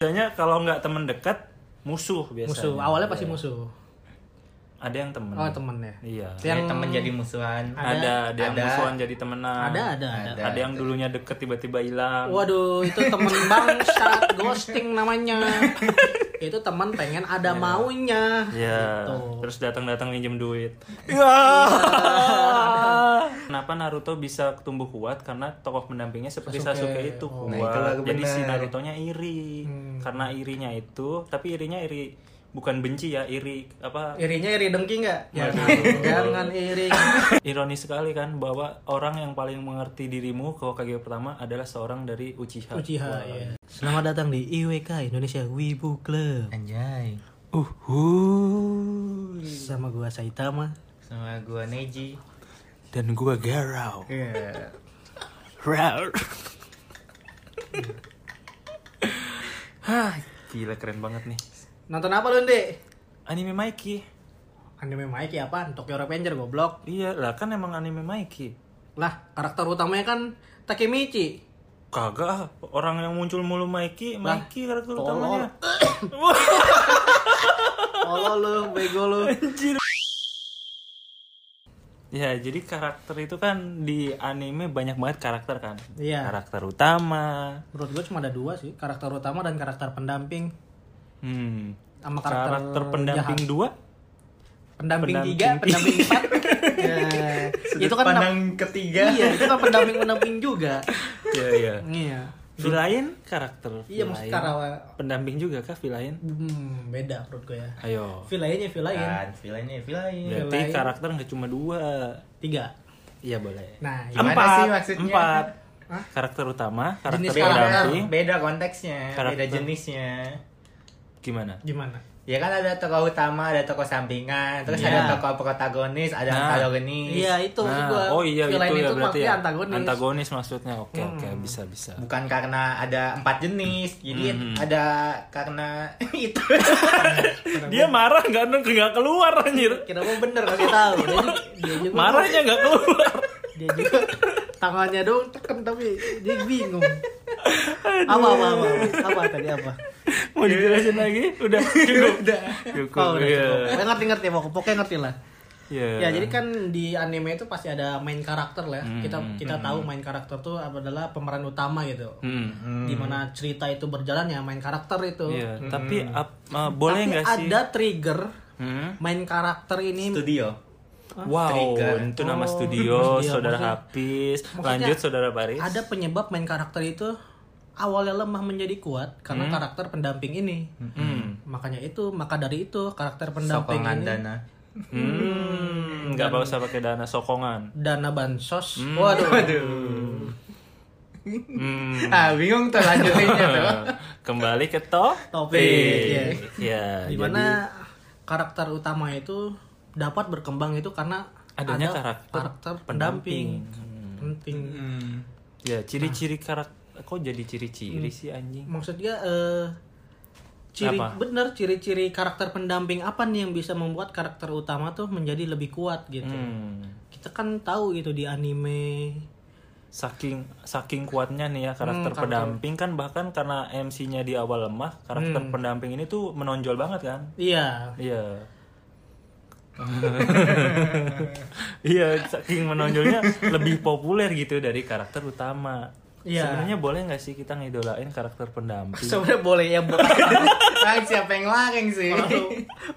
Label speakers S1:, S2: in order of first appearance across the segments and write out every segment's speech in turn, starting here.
S1: biasanya kalau nggak temen dekat musuh biasanya
S2: musuh awalnya pasti musuh
S1: ada yang temen
S2: oh temen ya
S1: iya
S2: Yang-
S3: Yang temen jadi musuhan.
S2: Ada.
S1: ada ada yang
S3: Ada.
S1: musuhan jadi temenan
S2: ada ada ada
S1: ada yang dulunya deket tiba-tiba hilang
S2: waduh itu temen bangsat ghosting namanya itu temen pengen ada maunya
S1: ya
S2: Gitu. Iya.
S1: terus datang-datang minjem duit Iya. kenapa Naruto bisa tumbuh kuat karena tokoh pendampingnya seperti Sasuke,
S2: Sasuke.
S1: itu kuat
S2: Oh. Hmm.
S3: Nah, itulah
S1: jadi si
S3: benar.
S1: Naruto-nya iri karena irinya itu tapi irinya iri bukan benci ya iri apa
S2: irinya iri dengki nggak
S1: Ya.
S2: jangan iri
S1: Ironis sekali kan bahwa orang yang paling mengerti dirimu kalau kage pertama adalah seorang dari Uchiha.
S2: Uchiha ya. Selamat datang di IWK Indonesia Wibu Club
S3: Anjay.
S1: Uhuy.
S2: sama gua Saitama.
S3: Sama gua Neji.
S1: Dan gua Garou.
S3: Iya.
S1: Raur. Hah, gila keren banget nih.
S2: Nonton apa lu, Ndek?
S1: Anime Mikey.
S2: Anime Mikey apaan? Tokyo Revenger goblok.
S1: Iya, lah kan emang anime Mikey.
S2: Lah, karakter utamanya kan Takemichi.
S1: Kagak, ah. orang yang muncul mulu Mikey,
S2: Lah,
S1: Mikey karakter
S2: tolol.
S1: utamanya.
S2: Tolol lu, bego lu.
S1: Ya, jadi karakter itu kan di anime banyak banget karakter kan.
S2: Iya.
S1: Karakter utama.
S2: Menurut gua cuma ada dua sih, karakter utama dan karakter pendamping.
S1: Hmm.
S2: Sama karakter, ya,
S1: Karakter, pendamping dua?
S2: pendamping,
S1: pendamping.
S2: tiga, pendamping empat. Nah, itu kan
S3: Pandang ketiga.
S2: iya, itu kan pendamping pendamping juga.
S1: Iya, iya.
S2: Iya.
S1: Villain karakter. villain.
S2: Iya, maksud karawa
S1: pendamping juga kah villain?
S2: hmm, beda menurut gua ya.
S1: Ayo.
S2: Villainnya villain.
S1: Ya.
S3: Kan, villainnya villain.
S1: Berarti
S2: Villain.
S1: karakter nggak cuma dua.
S2: Tiga.
S1: Iya boleh.
S2: Nah,
S3: Gimana
S1: empat,
S3: sih maksudnya?
S1: Empat. Karakter utama, karakter
S2: Jenis
S3: Beda,
S1: pendamping.
S3: beda konteksnya, beda
S1: Karakter.
S3: jenisnya.
S1: Gimana?
S2: iya. gimana?
S3: Ya kan ada tokoh utama, ada tokoh sampingan, terus
S2: Iya.
S3: ada tokoh protagonis, ada
S1: Nah.
S3: antagonis.
S2: Iya, itu maksud
S1: Nah,
S2: gua.
S1: oh iya itu ya
S2: Villain itu
S1: berarti
S2: maksudnya
S1: ya.
S2: antagonis. Hmm.
S1: Antagonis maksudnya. Oke, oke, bisa bisa.
S3: Bukan karena ada empat jenis, jadi
S2: Mm-hmm.
S1: Mhm.
S3: ada karena itu.
S1: Dia marah nggak nggak keluar anjir.
S2: Kira gua bener kasih tahu. Dia, dia juga
S1: Marahnya nggak keluar.
S2: dia juga tangannya dong tekan tapi dia bingung. Apa apa apa apa tadi apa?
S1: Mau dijelasin lagi? Udah cukup.
S2: Udah.
S1: Cukup.
S2: Oh, udah
S1: iya.
S2: cukup. Pokoknya ngerti ngerti pokok- pokoknya ngerti lah.
S1: Iya.
S2: Ya jadi kan di anime itu pasti ada main karakter lah. ya.
S1: Hmm,
S2: Kita kita tahu main karakter tuh adalah pemeran utama gitu.
S1: Hmm.
S2: Dimana cerita itu berjalan ya main karakter itu.
S1: Iya, tapi ap- uh, boleh
S2: Hmm. Tapi
S1: nggak sih?
S2: ada trigger
S1: Hmm?
S2: main karakter ini
S3: Studio.
S1: Wow,
S3: Trigger.
S1: itu nama
S2: Oh,
S1: studio,
S2: studio.
S1: saudara
S2: Maksudnya-
S1: Hafiz,
S2: maksudnya
S1: lanjut saudara Baris.
S2: ada penyebab main karakter itu awalnya lemah menjadi kuat karena
S1: Hmm.
S2: karakter pendamping ini. Makanya itu, maka dari itu karakter pendamping
S3: Sokongan
S2: ini
S3: dana.
S1: Hmm, nggak usah pakai dana sokongan.
S2: dana bansos. Waduh.
S1: Hmm.
S2: Mm.
S3: Ah, bingung tuh lanjutinnya tuh.
S1: Kembali ke to
S2: Topik, iya.
S1: Ya,
S2: Dimana karakter utama itu dapat berkembang itu karena
S1: Adanya
S2: ada
S1: karakter Hmm.
S2: pendamping. Hmm. Penting. Mm.
S1: jadi- ya ciri-ciri karakter kok jadi
S2: Hmm.
S1: ciri-ciri sih anjing.
S2: Maksudnya eh ciri
S1: Apa?
S2: bener ciri-ciri karakter pendamping apa nih yang bisa membuat karakter utama tuh menjadi lebih kuat gitu.
S1: Hmm.
S2: kita kan tahu gitu di anime
S1: Saking saking kuatnya nih ya karakter
S2: Hmm,
S1: pendamping kan bahkan karena MC-nya di awal lemah, karakter
S2: Hmm.
S1: pendamping ini tuh menonjol banget kan.
S2: iya
S1: Iya. Iya, saking menonjolnya lebih populer gitu dari karakter utama.
S2: Iya.
S1: Sebenarnya boleh nggak sih kita ngidolain karakter pendamping?
S2: sebenarnya boleh ya Bu.
S3: Kan siapa yang larang sih?
S2: kalau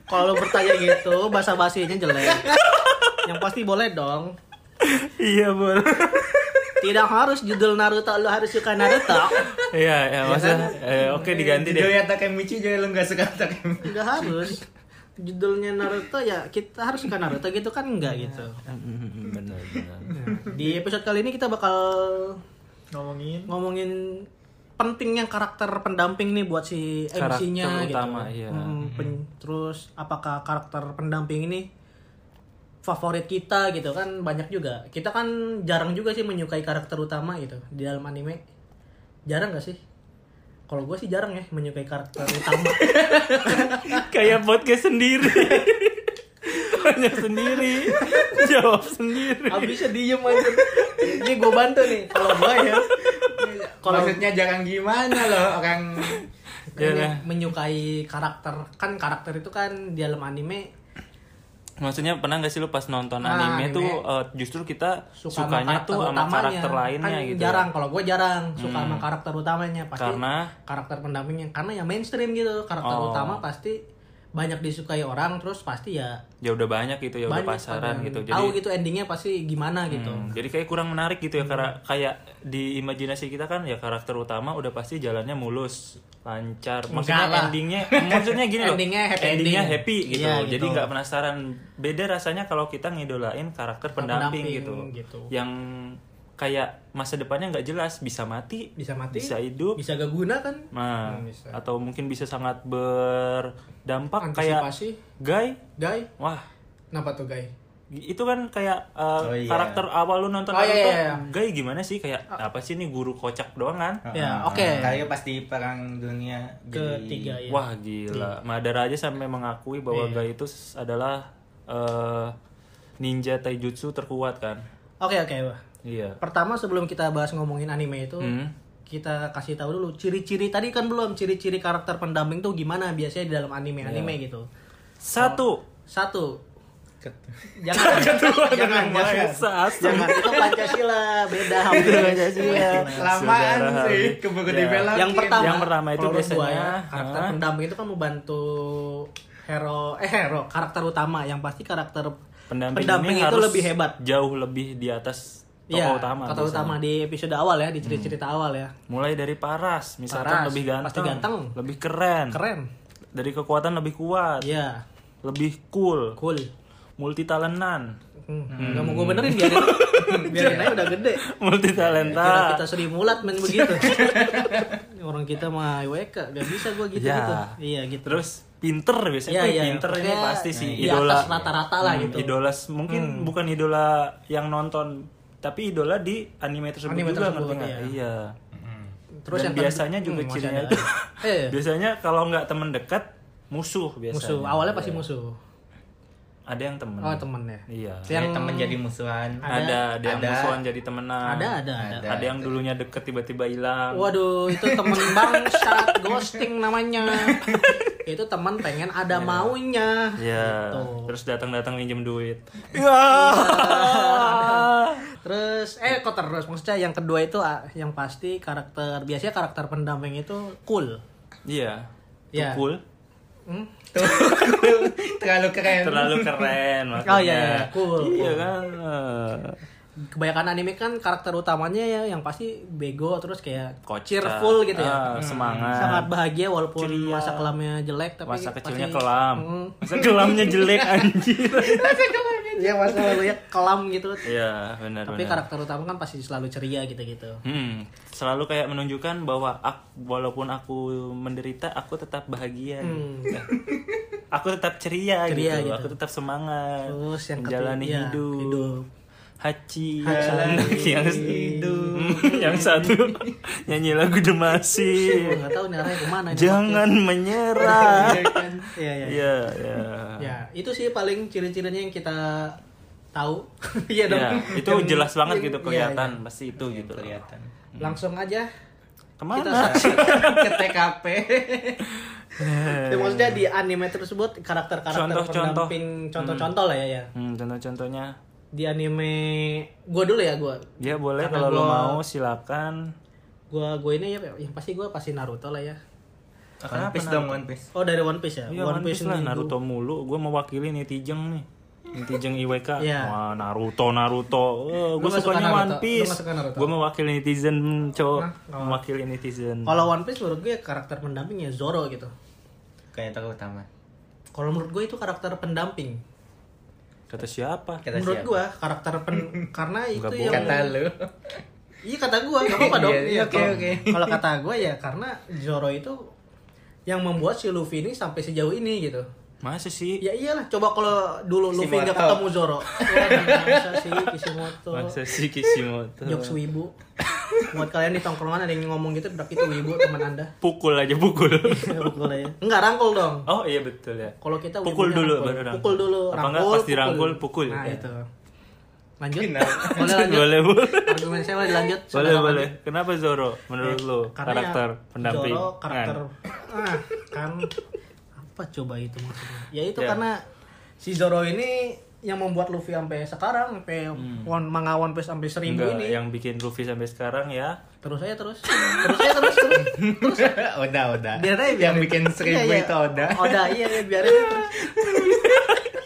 S2: kalau lu bertanya gitu bahasa basinya jelek yang pasti boleh dong
S1: iya, boleh.
S2: tidak harus judul Naruto lu harus suka Naruto
S1: Iya, ya, maksudnya
S2: kan?
S1: eh, oke diganti deh.
S3: Joya Takemichi, Joya lu gak suka Takemichi.
S2: tidak harus judulnya Naruto ya kita harus suka Naruto gitu kan enggak gitu
S1: Mm, Bener, bener.
S2: di episode kali ini kita bakal
S3: Ngomongin.
S2: ngomongin pentingnya karakter pendamping nih buat si
S1: Karakter
S2: MC-nya gitu.
S1: utama, iya.
S2: Hmm, pen- terus apakah karakter pendamping ini favorit kita gitu kan banyak juga. Kita kan jarang juga sih menyukai karakter utama gitu di dalam anime. Jarang gak sih? Kalau gue sih jarang ya menyukai karakter utama.
S1: Kayak podcast sendiri. Hanya sendiri. Jawab sendiri.
S2: Abisnya diem aja. Ini gue bantu nih. Kalau gue ya. Kalau
S3: Maksudnya jarang gimana loh orang
S1: Iya,
S2: Ini
S1: iya.
S2: menyukai karakter kan karakter itu kan di dalam anime
S1: Maksudnya pernah nggak sih lu pas nonton
S2: Ah,
S1: anime,
S2: anime.
S1: tuh eh, justru kita
S2: suka
S1: sukanya tuh sama
S2: utamanya.
S1: karakter lainnya
S2: Kan
S1: gitu. Hmm.
S2: jarang kalau gue jarang suka sama karakter utamanya pasti
S1: Karena-
S2: karakter pendampingnya karena ya mainstream gitu karakter
S1: Oh.
S2: utama pasti banyak disukai orang terus pasti ya
S1: Ya udah banyak gitu ya udah
S2: banyak
S1: pasaran
S2: orang
S1: gitu. Jadi
S2: tahu gitu endingnya pasti gimana gitu
S1: Hmm, jadi kayak kurang menarik gitu ya karena kayak di imajinasi kita kan ya karakter utama udah pasti jalannya mulus, lancar. Maksudnya
S2: Enggak lah.
S1: endingnya maksudnya gini loh.
S2: Endingnya happy
S1: endingnya
S2: ending.
S1: happy gitu.
S2: Iya,
S1: Jadi
S2: gitu.
S1: nggak penasaran. Beda rasanya kalau kita ngidolain karakter pendamping,
S2: pendamping
S1: gitu.
S2: gitu.
S1: Yang kayak masa depannya nggak jelas, bisa mati,
S2: bisa mati
S1: bisa hidup,
S2: bisa gak guna kan
S1: Nah,
S2: Hmm, bisa.
S1: atau mungkin bisa sangat berdampak kayak
S2: antisipasi
S1: Guy,
S2: guy
S1: wah
S2: kenapa tuh guy
S1: itu kan kayak uh,
S3: Oh, iya.
S1: karakter awal lu nonton
S2: Oh, iya,
S1: Naruto,
S2: iya, Oh. iya.
S1: Guy gimana sih kayak apa sih ini guru kocak doang kan?
S3: Oh,
S2: Ya, oke.
S3: Kayaknya pasti perang dunia jadi-
S2: ketiga ya
S1: Wah gila, Madara aja sampai mengakui bahwa
S3: Iya.
S1: Guy itu s- adalah uh, ninja taijutsu terkuat kan?
S2: oke oke wah.
S1: Iya.
S2: pertama sebelum kita bahas ngomongin anime itu
S1: Hmm.
S2: kita kasih tahu dulu ciri-ciri tadi kan belum ciri-ciri karakter pendamping tuh gimana biasanya di dalam anime anime
S1: Iya.
S2: gitu
S1: Satu.
S2: satu
S3: Ket-
S2: jangan
S3: Jangan, jangan.
S2: jangan itu pancasila beda hampir Iya.
S3: Lamaan
S1: Saudara
S3: Iya, sih
S1: Habib.
S3: keburu
S1: Ya.
S3: dibelok.
S2: yang pertama
S1: Yang pertama itu
S2: menurut gua
S1: biasanya,
S2: karakter
S1: ah.
S2: pendamping itu kan membantu hero eh hero karakter utama yang pasti karakter
S1: Pendamping,
S2: pendamping
S1: ini
S2: itu
S1: harus
S2: lebih hebat
S1: Jauh lebih di atas tokoh
S2: Iya,
S1: utama.
S2: kata
S1: biasanya. Hmm.
S2: utama di episode awal ya, di cerita-cerita awal ya.
S1: Mulai dari paras, misalkan
S2: Paras,
S1: lebih ganteng,
S2: pasti ganteng.
S1: lebih keren,
S2: Keren.
S1: dari kekuatan lebih kuat,
S2: Iya,
S1: lebih cool,
S2: cool.
S1: multi talentan,
S2: Hmm. Gak mau gue benerin biarin biarin aja udah gede.
S1: multi
S2: Kira kita
S1: talenta.
S2: Sri Mulat main begitu. Orang kita mah IWK, gak bisa gue gitu gitu.
S1: Ya.
S2: Iya gitu.
S1: Terus pinter biasanya
S2: Iya,
S1: tuh
S2: iya.
S1: pinter ini
S2: Pokoknya
S1: pasti sih
S2: di
S1: idola
S2: atas rata-rata lah
S1: Hmm,
S2: gitu.
S1: idola s- mungkin bukan idola yang nonton tapi idola di anime tersebut
S2: Anime
S1: juga
S2: tersebut,
S1: ngerti nggak?
S2: iya.
S1: Iya.
S2: Terus
S1: Dan
S2: yang kedua-
S1: biasanya juga
S2: Hmm, masih
S1: cirinya
S2: ada.
S1: itu
S2: Eh,
S1: biasanya kalau nggak temen dekat musuh biasanya.
S2: musuh. Awalnya pasti musuh.
S1: Ada yang temen.
S2: Oh, temennya.
S1: Iya.
S3: Yang temen jadi musuhan.
S1: Ada, ada, yang
S3: Ada.
S1: musuhan jadi temenan.
S2: Ada, ada, ada.
S1: Ada, yang dulunya deket tiba-tiba hilang.
S2: Waduh, itu temen bangsat, ghosting namanya. itu temen pengen ada maunya.
S1: Iya.
S2: Gitu. Iya.
S1: Terus datang-datang minjem duit. Iya.
S2: Terus eh kok terus maksudnya yang kedua itu ah, yang pasti karakter biasanya karakter pendamping itu cool.
S1: Iya.
S2: Iya.
S1: Itu Cool.
S2: Hmm?
S3: Terlalu keren.
S1: Terlalu keren maksudnya.
S2: Oh, iya, iya. Cool,
S1: Iya
S2: cool.
S1: kan.
S2: Kebanyakan anime kan karakter utamanya ya yang pasti bego terus kayak
S1: Kocak.
S2: cheerful gitu ya.
S1: Ah, semangat.
S2: Sangat bahagia walaupun masa kelamnya jelek tapi
S1: Masa kecilnya
S2: pasti-
S1: kelam.
S2: Hmm.
S1: Masa kelamnya jelek anjir.
S2: Iya, masa kelamnya kelam gitu.
S1: Iya, benar
S2: tapi
S1: benar.
S2: karakter utama kan pasti selalu ceria gitu-gitu.
S1: Hmm, selalu kayak menunjukkan bahwa ak- walaupun aku menderita, aku tetap bahagia. gitu. aku tetap ceria,
S2: Ceria
S1: gitu.
S2: gitu.
S1: Aku tetap semangat.
S2: Terus yang
S1: menjalani
S2: ketiga,
S1: hidup.
S2: hidup.
S1: Haci,
S2: Haci.
S1: anak yang hidup. yang satu nyanyi lagu demasi.
S2: Gue nggak tahu nih arahnya kemana Nah, ini.
S1: Jangan menyerah.
S2: Iya, iya.
S1: Iya, iya.
S2: Ya, itu sih paling ciri-cirinya yang kita tahu. Iya dong.
S1: Ya, itu
S2: Yang-
S1: jelas banget gitu
S2: yang-
S1: kelihatan,
S2: iya,
S1: pasti itu gitu.
S3: Kelihatan.
S2: iya. Langsung aja.
S1: Kemana?
S3: Ke TKP.
S2: Ya, maksudnya di anime tersebut
S1: Eh.
S2: karakter-karakter
S1: Contoh-contoh.
S2: pendamping contoh-contoh lah ya ya.
S1: Hmm, contoh-contohnya
S2: Di anime gua dulu ya gua.
S1: Ya boleh kalau
S2: Karena
S1: lo
S2: gua-
S1: mau silakan.
S2: Gua gua ini ya yang pasti gua pasti Naruto lah ya.
S3: One Piece dong, One Piece.
S2: Oh, dari One Piece ya.
S1: Iya One Piece lah
S2: ini gua-
S1: Naruto mulu. Gue mewakili netizen nih. Netizen IWK.
S2: Iya.
S1: Wah Naruto Naruto. Eh, gue
S2: nggak suka
S1: sukanya
S2: Naruto?
S1: One
S2: Lu
S1: Piece.
S2: nggak suka Naruto?
S1: Gue mewakili netizen cowok. Mewakili netizen.
S2: Kalau One Piece menurut gue karakter pendampingnya Zoro gitu.
S3: Kayak tokoh utama.
S2: Kalau menurut gue itu karakter pendamping.
S1: Kata siapa?
S3: Kata
S2: menurut
S3: siapa?
S2: gua karakter pen karena itu
S1: Nggak
S2: yang
S3: Kata lu.
S2: Iya kata gua, gak apa-apa dong.
S3: Iya, iya, oke,
S2: kalau-
S3: oke.
S2: Kalau kata gua ya karena Zoro itu yang membuat si Luffy ini sampai sejauh ini gitu.
S1: Masa sih?
S2: Ya iyalah, coba kalau dulu Luffy nggak
S3: Kishimoto.
S2: ketemu Zoro. Wah, masa sih Kishimoto.
S1: Masa sih Kishimoto?
S2: Jokes wibu. Buat kalian di tongkrongan ada yang ngomong gitu berarti itu wibu teman Anda.
S1: Pukul aja pukul.
S2: Pukul aja. Enggak rangkul dong.
S1: oh iya betul ya.
S2: Kalau kita
S1: Pukul dulu,
S2: wibunya rangkul.
S1: baru rangkul.
S2: Pukul dulu,
S1: Apa enggak, pas dirangkul, pukul.
S2: Nah,
S1: Ya.
S2: itu. Lanjut.
S3: Kenapa?
S2: Boleh lanjut.
S1: boleh boleh.
S2: Argumen saya boleh lanjut.
S1: Boleh
S2: Saudara
S1: boleh. Kenapa Zoro menurut lo
S2: Eh, Karena
S1: karakter
S2: ya,
S1: pendamping? kan?
S2: Zoro karakter ah kan apa coba itu maksudnya ya itu
S1: Ya.
S2: karena si Zoro ini yang membuat Luffy sampai sekarang sampai wan mangawan sampai sampai seribu
S1: Enggak,
S2: ini
S1: yang bikin Luffy sampai sekarang ya.
S2: terus aja terus terus aja terus terus
S3: Oda, Oda.
S2: biar aja biarin.
S3: yang bikin seribu
S2: Iya, iya.
S3: itu Oda.
S2: Oda iya iya biarin aja terus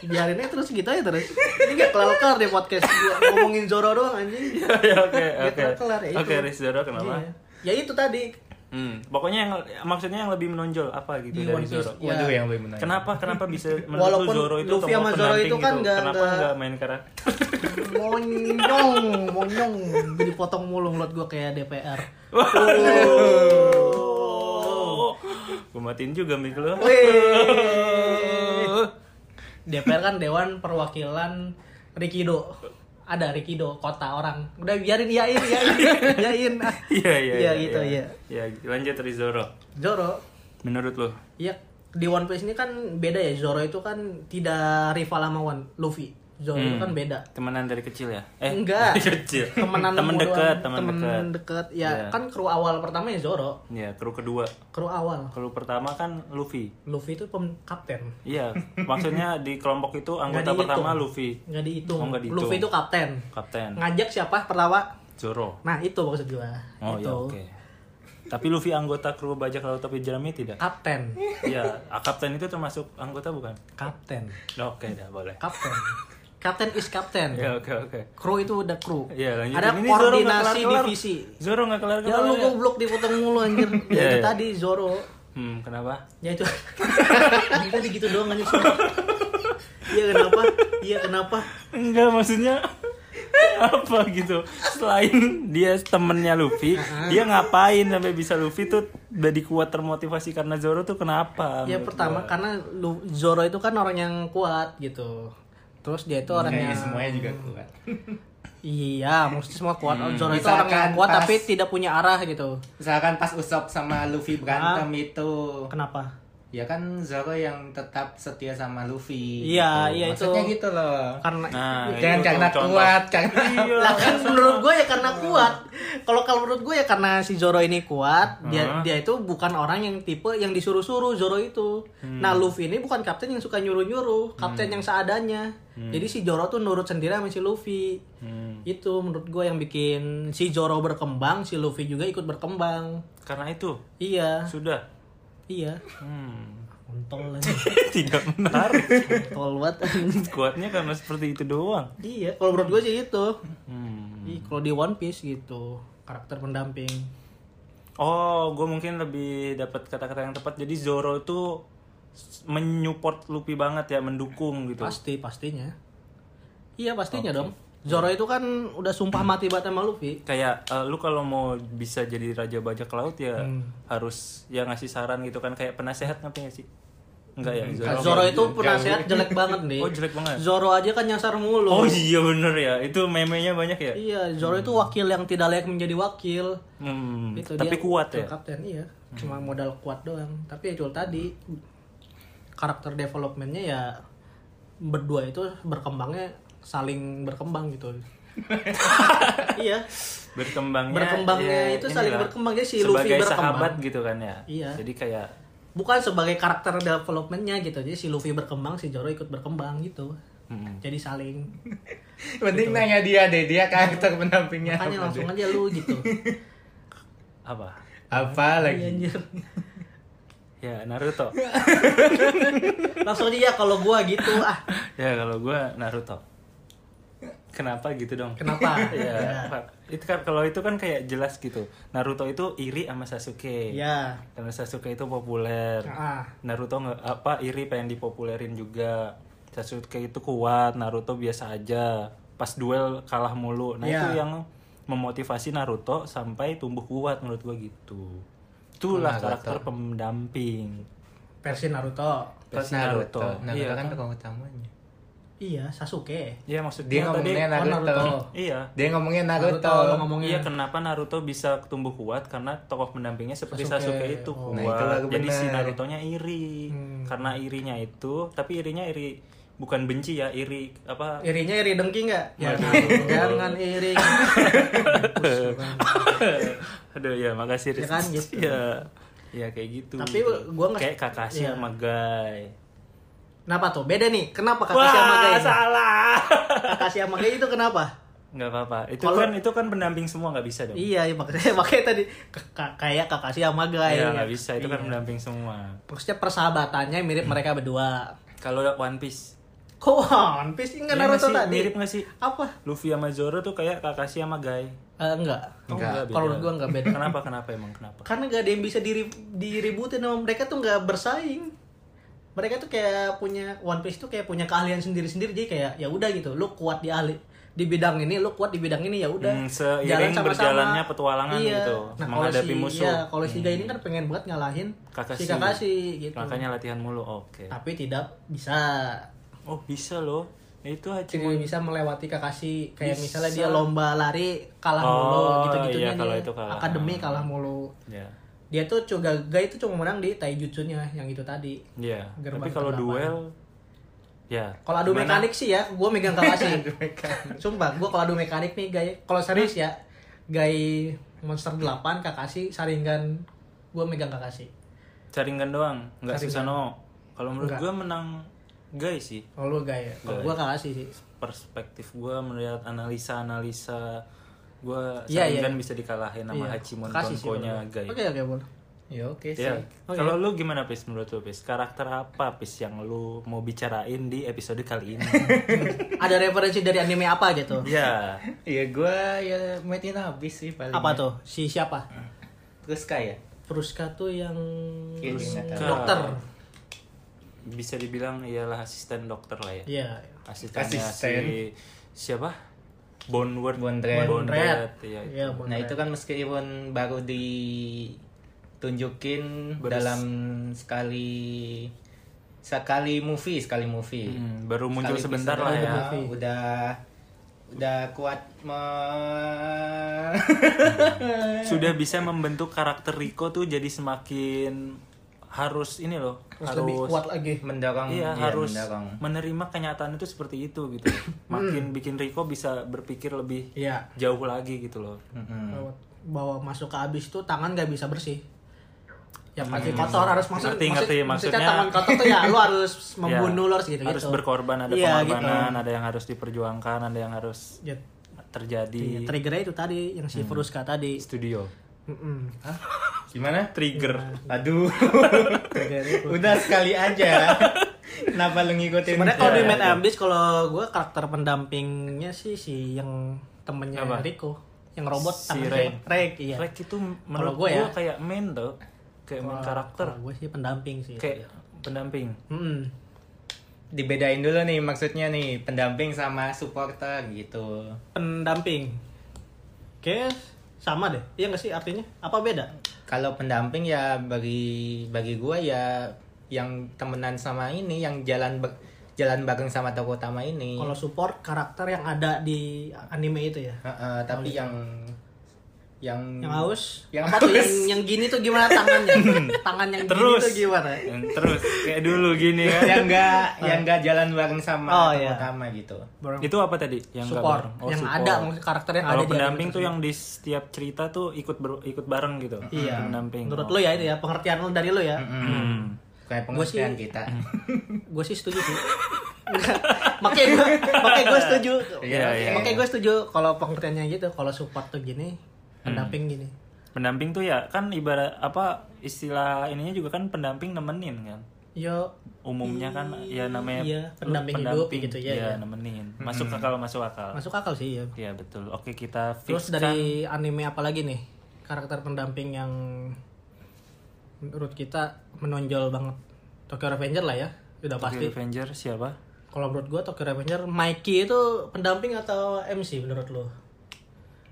S2: biarin aja terus gitu aja terus ini gak kelar-kelar deh podcast Gua ngomongin Zoro doang anjing
S1: Ya, Oke,
S2: Biar
S1: oke.
S2: kelar, ya itu.
S1: Oke, Riz Zoro kenapa?
S2: Iya. ya itu tadi
S1: Hmm, pokoknya yang maksudnya yang lebih menonjol apa gitu
S2: Di
S1: dari
S2: One Piece.
S1: Zoro?
S2: Iya.
S3: Waduh, yang lebih menarik.
S1: Kenapa kenapa bisa menurut
S2: Walaupun
S1: lu Zoro itu
S2: Luffy
S1: tokoh
S2: sama Zoro
S1: pendamping
S2: itu kan
S1: gitu?
S2: nggak-
S1: kenapa
S2: nggak-
S1: nggak main karakter?
S2: monyong monyong jadi potong mulu mulut gue kayak DPR
S1: Waduh.
S2: Oh.
S1: Gue matiin juga mik lu.
S2: Wih. DPR kan Dewan Perwakilan Rikido ada Rikido kota orang udah biarin yain yain yain
S1: Iya, iya,
S2: Iya, gitu ya
S1: Ya, lanjut dari Zoro.
S2: Zoro
S1: Menurut lu?
S2: ya di One Piece ini kan beda ya Zoro itu kan tidak rival sama One Luffy Zoro itu
S1: Hmm.
S2: kan beda
S1: Temenan dari kecil ya?
S2: Enggak.
S1: kecil.
S2: temenan
S1: temen
S2: mulu
S1: dekat,
S2: doang.
S1: temen, dekat.
S2: dekat. ya
S1: Iya.
S2: kan kru awal pertama ya Zoro
S1: Ya, kru kedua.
S2: kru awal
S1: Kru pertama kan Luffy.
S2: Luffy itu pem kapten
S1: Iya, maksudnya di kelompok itu anggota
S2: Nggak dihitung.
S1: pertama Luffy,
S2: nggak dihitung.
S1: Oh, nggak dihitung.
S2: Luffy itu kapten
S1: kapten.
S2: ngajak siapa perlawa
S1: Zoro.
S2: nah itu maksud gua Gitu.
S1: Oh
S2: itu
S1: ya oke. Tapi Luffy anggota kru bajak laut tapi jerami tidak?
S2: kapten
S1: Iya, ah, kapten itu termasuk anggota bukan?
S2: kapten
S1: Nah, Oke, dah boleh.
S2: kapten kapten is kapten
S1: Ya oke oke.
S2: kru itu udah kru
S1: Iya, lanjut.
S2: ada
S1: Ini Zoro nggak
S2: koordinasi
S1: kelar-kelar.
S2: divisi
S1: Zoro nggak kelar
S2: ya
S1: kelar.
S2: lu goblok dipotong mulu anjir ya
S1: Iya,
S2: itu
S1: iya.
S2: tadi Zoro
S1: Hmm, kenapa?
S2: ya itu Ini tadi gitu doang anjir iya kenapa iya kenapa
S1: Enggak, maksudnya apa gitu selain dia temennya Luffy dia ngapain sampai bisa Luffy tuh jadi kuat termotivasi karena Zoro tuh kenapa
S2: ya
S1: menurut
S2: pertama
S1: gua?
S2: karena lu, Zoro itu kan orang yang kuat gitu terus dia itu orang
S1: Iya,
S3: Kayaknya
S2: yang
S3: semuanya juga kuat.
S2: Iya, mesti semua kuat.
S1: Hmm.
S2: Zoro itu
S3: Misalkan
S2: orang yang kuat
S3: pas-
S2: tapi tidak punya arah gitu.
S3: Misalkan pas Usop sama Luffy berantem
S2: Ah.
S3: itu,
S2: Kenapa?
S3: ya kan Zoro yang tetap setia sama Luffy.
S2: Iya,
S3: gitu.
S2: iya, itu.
S3: Maksudnya gitu loh.
S2: Karena
S1: nah,
S3: Jangan
S1: itu
S3: karena
S1: contoh.
S3: kuat, karena
S1: Iya.
S2: lah kan menurut gue ya karena kuat. Kalau kalau menurut gue ya karena si Zoro ini kuat,
S1: Hmm.
S2: dia dia itu bukan orang yang tipe yang disuruh-suruh Zoro itu.
S1: Hmm.
S2: Nah, Luffy ini bukan kapten yang suka nyuruh-nyuruh, kapten yang seadanya. Jadi si Zoro tuh nurut sendiri sama si Luffy.
S1: Hmm.
S2: Itu menurut gue yang bikin si Zoro berkembang, si Luffy juga ikut berkembang.
S1: karena itu
S2: Iya,
S1: sudah
S2: iya.
S1: hmm.
S2: Kontol lagi.
S1: tidak menarik
S2: Kontol banget.
S1: kuatnya karena seperti itu doang
S2: Iya, kalau menurut gue sih itu.
S1: hmm.
S2: Ih, kalau di One Piece gitu, karakter pendamping.
S1: oh gue mungkin lebih dapat kata-kata yang tepat jadi Zoro tuh s- menyupport Luffy banget ya mendukung gitu
S2: Pasti, pastinya. Iya, pastinya dong. Zoro itu kan udah sumpah mati banget sama Luffy.
S1: kayak eh, lu kalau mau bisa jadi raja bajak laut ya harus ya ngasih saran gitu kan kayak penasehat ngerti nggak sih enggak ya Zoro
S2: Nah, Zoro itu penasehat jelek banget nih.
S1: Oh, jelek banget.
S2: Zoro aja kan nyasar mulu.
S1: oh iya bener ya itu memenya banyak ya
S2: Iya, Zoro itu wakil yang tidak layak menjadi wakil.
S1: Hmm,
S2: Itu
S1: tapi
S2: dia
S1: kuat
S2: wakil
S1: ya
S2: Kapten iya, cuma modal kuat doang. Tapi ya itu tadi karakter developmentnya ya berdua itu berkembangnya saling berkembang gitu. iya,
S1: berkembangnya
S2: Berkembangnya
S1: ya,
S2: itu saling
S1: inilah.
S2: berkembang. Jadi si Luffy
S1: sebagai
S2: berkembang.
S1: sahabat gitu kan ya
S2: Iya.
S1: jadi kayak
S2: bukan sebagai karakter developmentnya gitu. Jadi si Luffy berkembang, si Zoro ikut berkembang gitu.
S1: Mm-mm.
S2: Jadi saling
S3: penting nanya dia deh, dia karakter pendampingnya.
S2: makanya
S3: apa deh.
S2: langsung aja lu gitu.
S1: apa
S3: Apa
S2: Iya,
S3: lagi?
S2: anjir.
S1: ya Naruto
S2: langsung aja ya kalau gua gitu ah.
S1: ya kalau gua Naruto kenapa gitu dong
S2: Kenapa? Iya.
S1: ya Pak. itu kan kalau itu kan kayak jelas gitu Naruto itu iri sama Sasuke
S2: Ya.
S1: karena Sasuke itu populer
S2: Ah.
S1: Naruto nggak apa iri pengen dipopulerin juga Sasuke itu kuat Naruto biasa aja pas duel kalah mulu nah
S2: Iya.
S1: itu yang memotivasi Naruto sampai tumbuh kuat menurut gua gitu
S3: Nah,
S1: itulah karakter pendamping
S2: Versi Naruto.
S3: Terus
S1: Versi
S3: Naruto.
S1: Naruto.
S3: Naruto
S1: Iya,
S3: kan
S1: kan?
S3: tokoh utamanya.
S2: Iya, Sasuke.
S1: Iya maksudnya
S3: Dia
S1: tadi
S3: ngomongnya
S2: oh,
S3: Naruto.
S2: Naruto.
S1: iya
S3: Dia ngomongnya
S2: Naruto
S3: Naruto.
S2: lo ngomongnya.
S1: Iya kenapa Naruto bisa tumbuh kuat karena tokoh pendampingnya seperti
S2: Sasuke.
S1: Sasuke, itu
S2: Oh. Hmm.
S1: kuat.
S3: Nah, itu lagu
S1: Jadi si
S3: bener.
S1: Naruto-nya iri. Karena irinya itu, tapi irinya iri bukan benci ya, iri apa?
S2: Irinya iri dengki nggak?
S1: Iya.
S2: Ya, jangan iri.
S1: Aduh ya, makasih Riz.
S2: Ya kan, gitu.
S1: Iya. ya kayak gitu
S2: Tapi
S1: gitu.
S2: gua
S1: kayak
S2: nggak-
S1: Kakashi
S2: iya.
S1: sama Guy
S2: Kenapa tuh? Beda nih. Kenapa Kakashi sama Gai?
S1: wah salah
S2: Kakashi sama Gai itu kenapa?
S1: nggak apa-apa itu
S2: Kalau-
S1: kan itu kan pendamping semua nggak bisa dong
S2: iya, ya, makanya makanya tadi ke- ka- kayak Kakashi sama Gai.
S1: Iya, nggak bisa itu kan
S2: Iya.
S1: pendamping semua
S2: Maksudnya persahabatannya mirip mereka berdua.
S1: kalau One Piece
S2: Kok One Piece enggak
S1: Iya nggak
S2: Naruto
S1: sih?
S2: tadi?
S1: mirip nggak sih
S2: Apa?
S1: Luffy sama Zoro tuh kayak Kakashi sama Guy
S2: Eh, enggak.
S1: Oh, beda.
S3: Nggak.
S2: Kalau menurut gua nggak beda.
S1: kenapa kenapa emang kenapa
S2: Karena nggak ada yang bisa diri, diributin sama mereka tuh nggak bersaing. Mereka tuh kayak punya One Piece tuh kayak punya keahlian sendiri-sendiri jadi kayak ya udah gitu. Lu kuat di ahli di bidang ini, lu kuat di bidang ini ya udah.
S1: Hmm, seiring berjalannya petualangan
S2: Iya.
S1: gitu,
S2: Nah,
S1: menghadapi
S2: menghadapi
S1: musuh.
S2: si,
S1: Hmm.
S2: musuh. Iya, kalau si Gai ini kan pengen banget ngalahin
S1: Kakashi.
S2: si Kakashi gitu.
S1: makanya latihan mulu oke
S2: Tapi tidak bisa.
S1: oh bisa loh itu
S2: Cuma
S1: Hachiman
S2: bisa melewati Kakashi kayak
S1: Bisa.
S2: misalnya dia lomba lari kalah
S1: Oh,
S2: mulu
S1: iya,
S2: gitu-gitunya
S1: kalau
S2: dia.
S1: itu kalah. Hmm.
S2: Akademi kalah mulu.
S1: ya
S2: dia tuh juga Gai itu cuma menang di taijutsunya yang itu tadi
S1: Iya.
S2: Gerbang
S1: tapi kalau
S2: kedelapan.
S1: duel ya
S2: kalau adu
S1: gimana?
S2: mekanik sih ya gue megang Kakashi sumpah gue kalau adu mekanik nih Gai kalau serius ya Gai monster 8 Kakashi saringan gue megang Kakashi
S1: Saringan doang, nggak
S2: Saringan.
S1: Susano. Kalau menurut
S2: Nggak.
S1: gua menang guys sih.
S2: kalau lu Gai ya kalau
S1: Gai.
S2: gue Kakashi sih
S1: Perspektif gua melihat analisa-analisa gua
S2: Iya, iya.
S1: Saringan bisa dikalahin sama
S2: Iya,
S1: Hachimon
S2: Kakashi sih
S1: Tonko-nya
S2: menurut gua.
S1: guys.
S2: oke oke boleh ya oke sih
S1: Ya,
S3: Oh,
S2: Oke.
S3: iya?
S1: kalau lu gimana Pis menurut lu Pis? Karakter apa Pis yang lu mau bicarain di episode kali ini?
S2: ada referensi dari anime apa gitu
S1: ya,
S3: Iya gue ya metin habis sih paling.
S2: apa tuh si siapa
S3: Terus kayak
S2: Fruska tuh yang
S3: Iya, dia nggak tahu.
S2: dokter
S1: bisa dibilang ialah asisten dokter lah ya.
S2: iya
S1: Asistennya
S3: Asisten.
S1: si siapa? Bonward
S3: Bondred.
S1: Bondred, iya.
S2: iya bener.
S3: Nah itu kan meskipun baru ditunjukin
S1: Baru
S3: dalam sekali sekali movie sekali movie.
S1: Hmm, baru muncul
S3: Sekali
S1: sebentar lah
S3: episode
S1: ya.
S3: udah- Udah udah kuat me...
S1: sudah bisa membentuk karakter Rico tuh jadi semakin harus ini loh
S2: Terus
S1: harus
S2: lebih kuat lagi
S3: mendorong
S1: iya,
S3: ya,
S1: harus
S3: mendorong.
S1: menerima kenyataan itu seperti itu gitu makin bikin Rico bisa berpikir lebih
S2: iya
S1: jauh lagi gitu loh
S3: Mm-mm.
S2: bahwa masuk ke abis tuh tangan gak bisa bersih ya pasti kotor harus maksud,
S1: Hmm, Ngerti,
S2: maksud-
S1: ngerti. Maksudnya-
S2: tangan kotor tuh ya lu harus membunuh lu harus gitu
S1: Ya, harus berkorban ada
S2: Iya,
S1: pengorbanan ada yang harus diperjuangkan ada yang harus
S2: gitu.
S1: terjadi
S2: triggernya ya, itu tadi yang
S1: Hmm.
S2: si Fruska tadi
S1: studio
S2: Mm-mm.
S3: Gimana?
S1: trigger
S3: Iya. Aduh. udah sekali aja. Kenapa lu ngikutin?
S2: sebenarnya
S1: ya,
S2: kalau di main abis kalau gue karakter pendampingnya sih si yang temennya
S1: Apa?
S2: Rico yang robot
S1: Si
S2: tangan
S1: Rek.
S2: robot. Rek iya
S1: Rek itu menurut
S2: gua
S1: gue
S2: ya.
S1: kayak main tuh kayak main karakter
S2: gue sih pendamping sih
S1: kayak pendamping
S2: Mm-mm.
S3: dibedain dulu nih maksudnya nih pendamping sama supporter gitu.
S2: pendamping oke sama deh iya gak sih artinya apa beda
S3: Kalau pendamping ya bagi bagi gua ya yang temenan sama ini yang jalan ba- jalan bareng sama tokoh utama ini.
S2: kalau support karakter yang ada di anime itu ya
S3: Heeh, tapi yang yang
S2: yang
S1: Hmm.
S2: haus
S3: Yang
S2: apa tuh
S3: haus.
S2: yang, yang gini tuh gimana tangannya tangan yang
S1: Terus.
S2: gini tuh gimana
S1: Dan terus kayak dulu gini kan
S3: yang enggak yang enggak jalan bareng sama
S2: Oh,
S3: tokoh
S2: iya.
S3: utama gitu.
S1: itu apa tadi yang nggak
S2: support
S1: bareng? Oh,
S2: yang
S1: support.
S2: ada maksud karakter yang ada
S1: kalau
S2: di
S1: pendamping
S2: anime
S1: tuh yang di setiap cerita tuh ikut ber- ikut bareng gitu
S2: Iya.
S1: pendamping
S2: menurut
S1: Oh.
S2: lo ya itu ya pengertian lo dari lo ya
S1: Hmm.
S3: Kayak
S2: Gua sih- Hmm.
S3: pengertian kita.
S2: gue sih setuju sih Nggak. makanya gue makanya gue setuju
S1: Iya, iya,
S2: makanya gue setuju kalau pengertiannya gitu kalau support tuh gini
S1: Hmm.
S2: pendamping gini
S1: pendamping tuh ya kan ibarat apa istilah ininya juga kan pendamping nemenin kan
S2: yo
S1: umumnya kan ya namanya
S2: Iya, pendamping
S1: lu
S2: hidup gitu, ya, ya.
S1: nemenin masuk akal masuk akal
S2: masuk akal sih ya
S1: Iya betul oke kita fix
S2: Terus dari
S1: kan.
S2: anime apa lagi nih karakter pendamping yang menurut kita menonjol banget Tokyo Revenger lah ya udah pasti.
S1: Tokyo Revenger siapa
S2: Kalau menurut gua Tokyo Revenger Mikey itu pendamping atau MC menurut lo?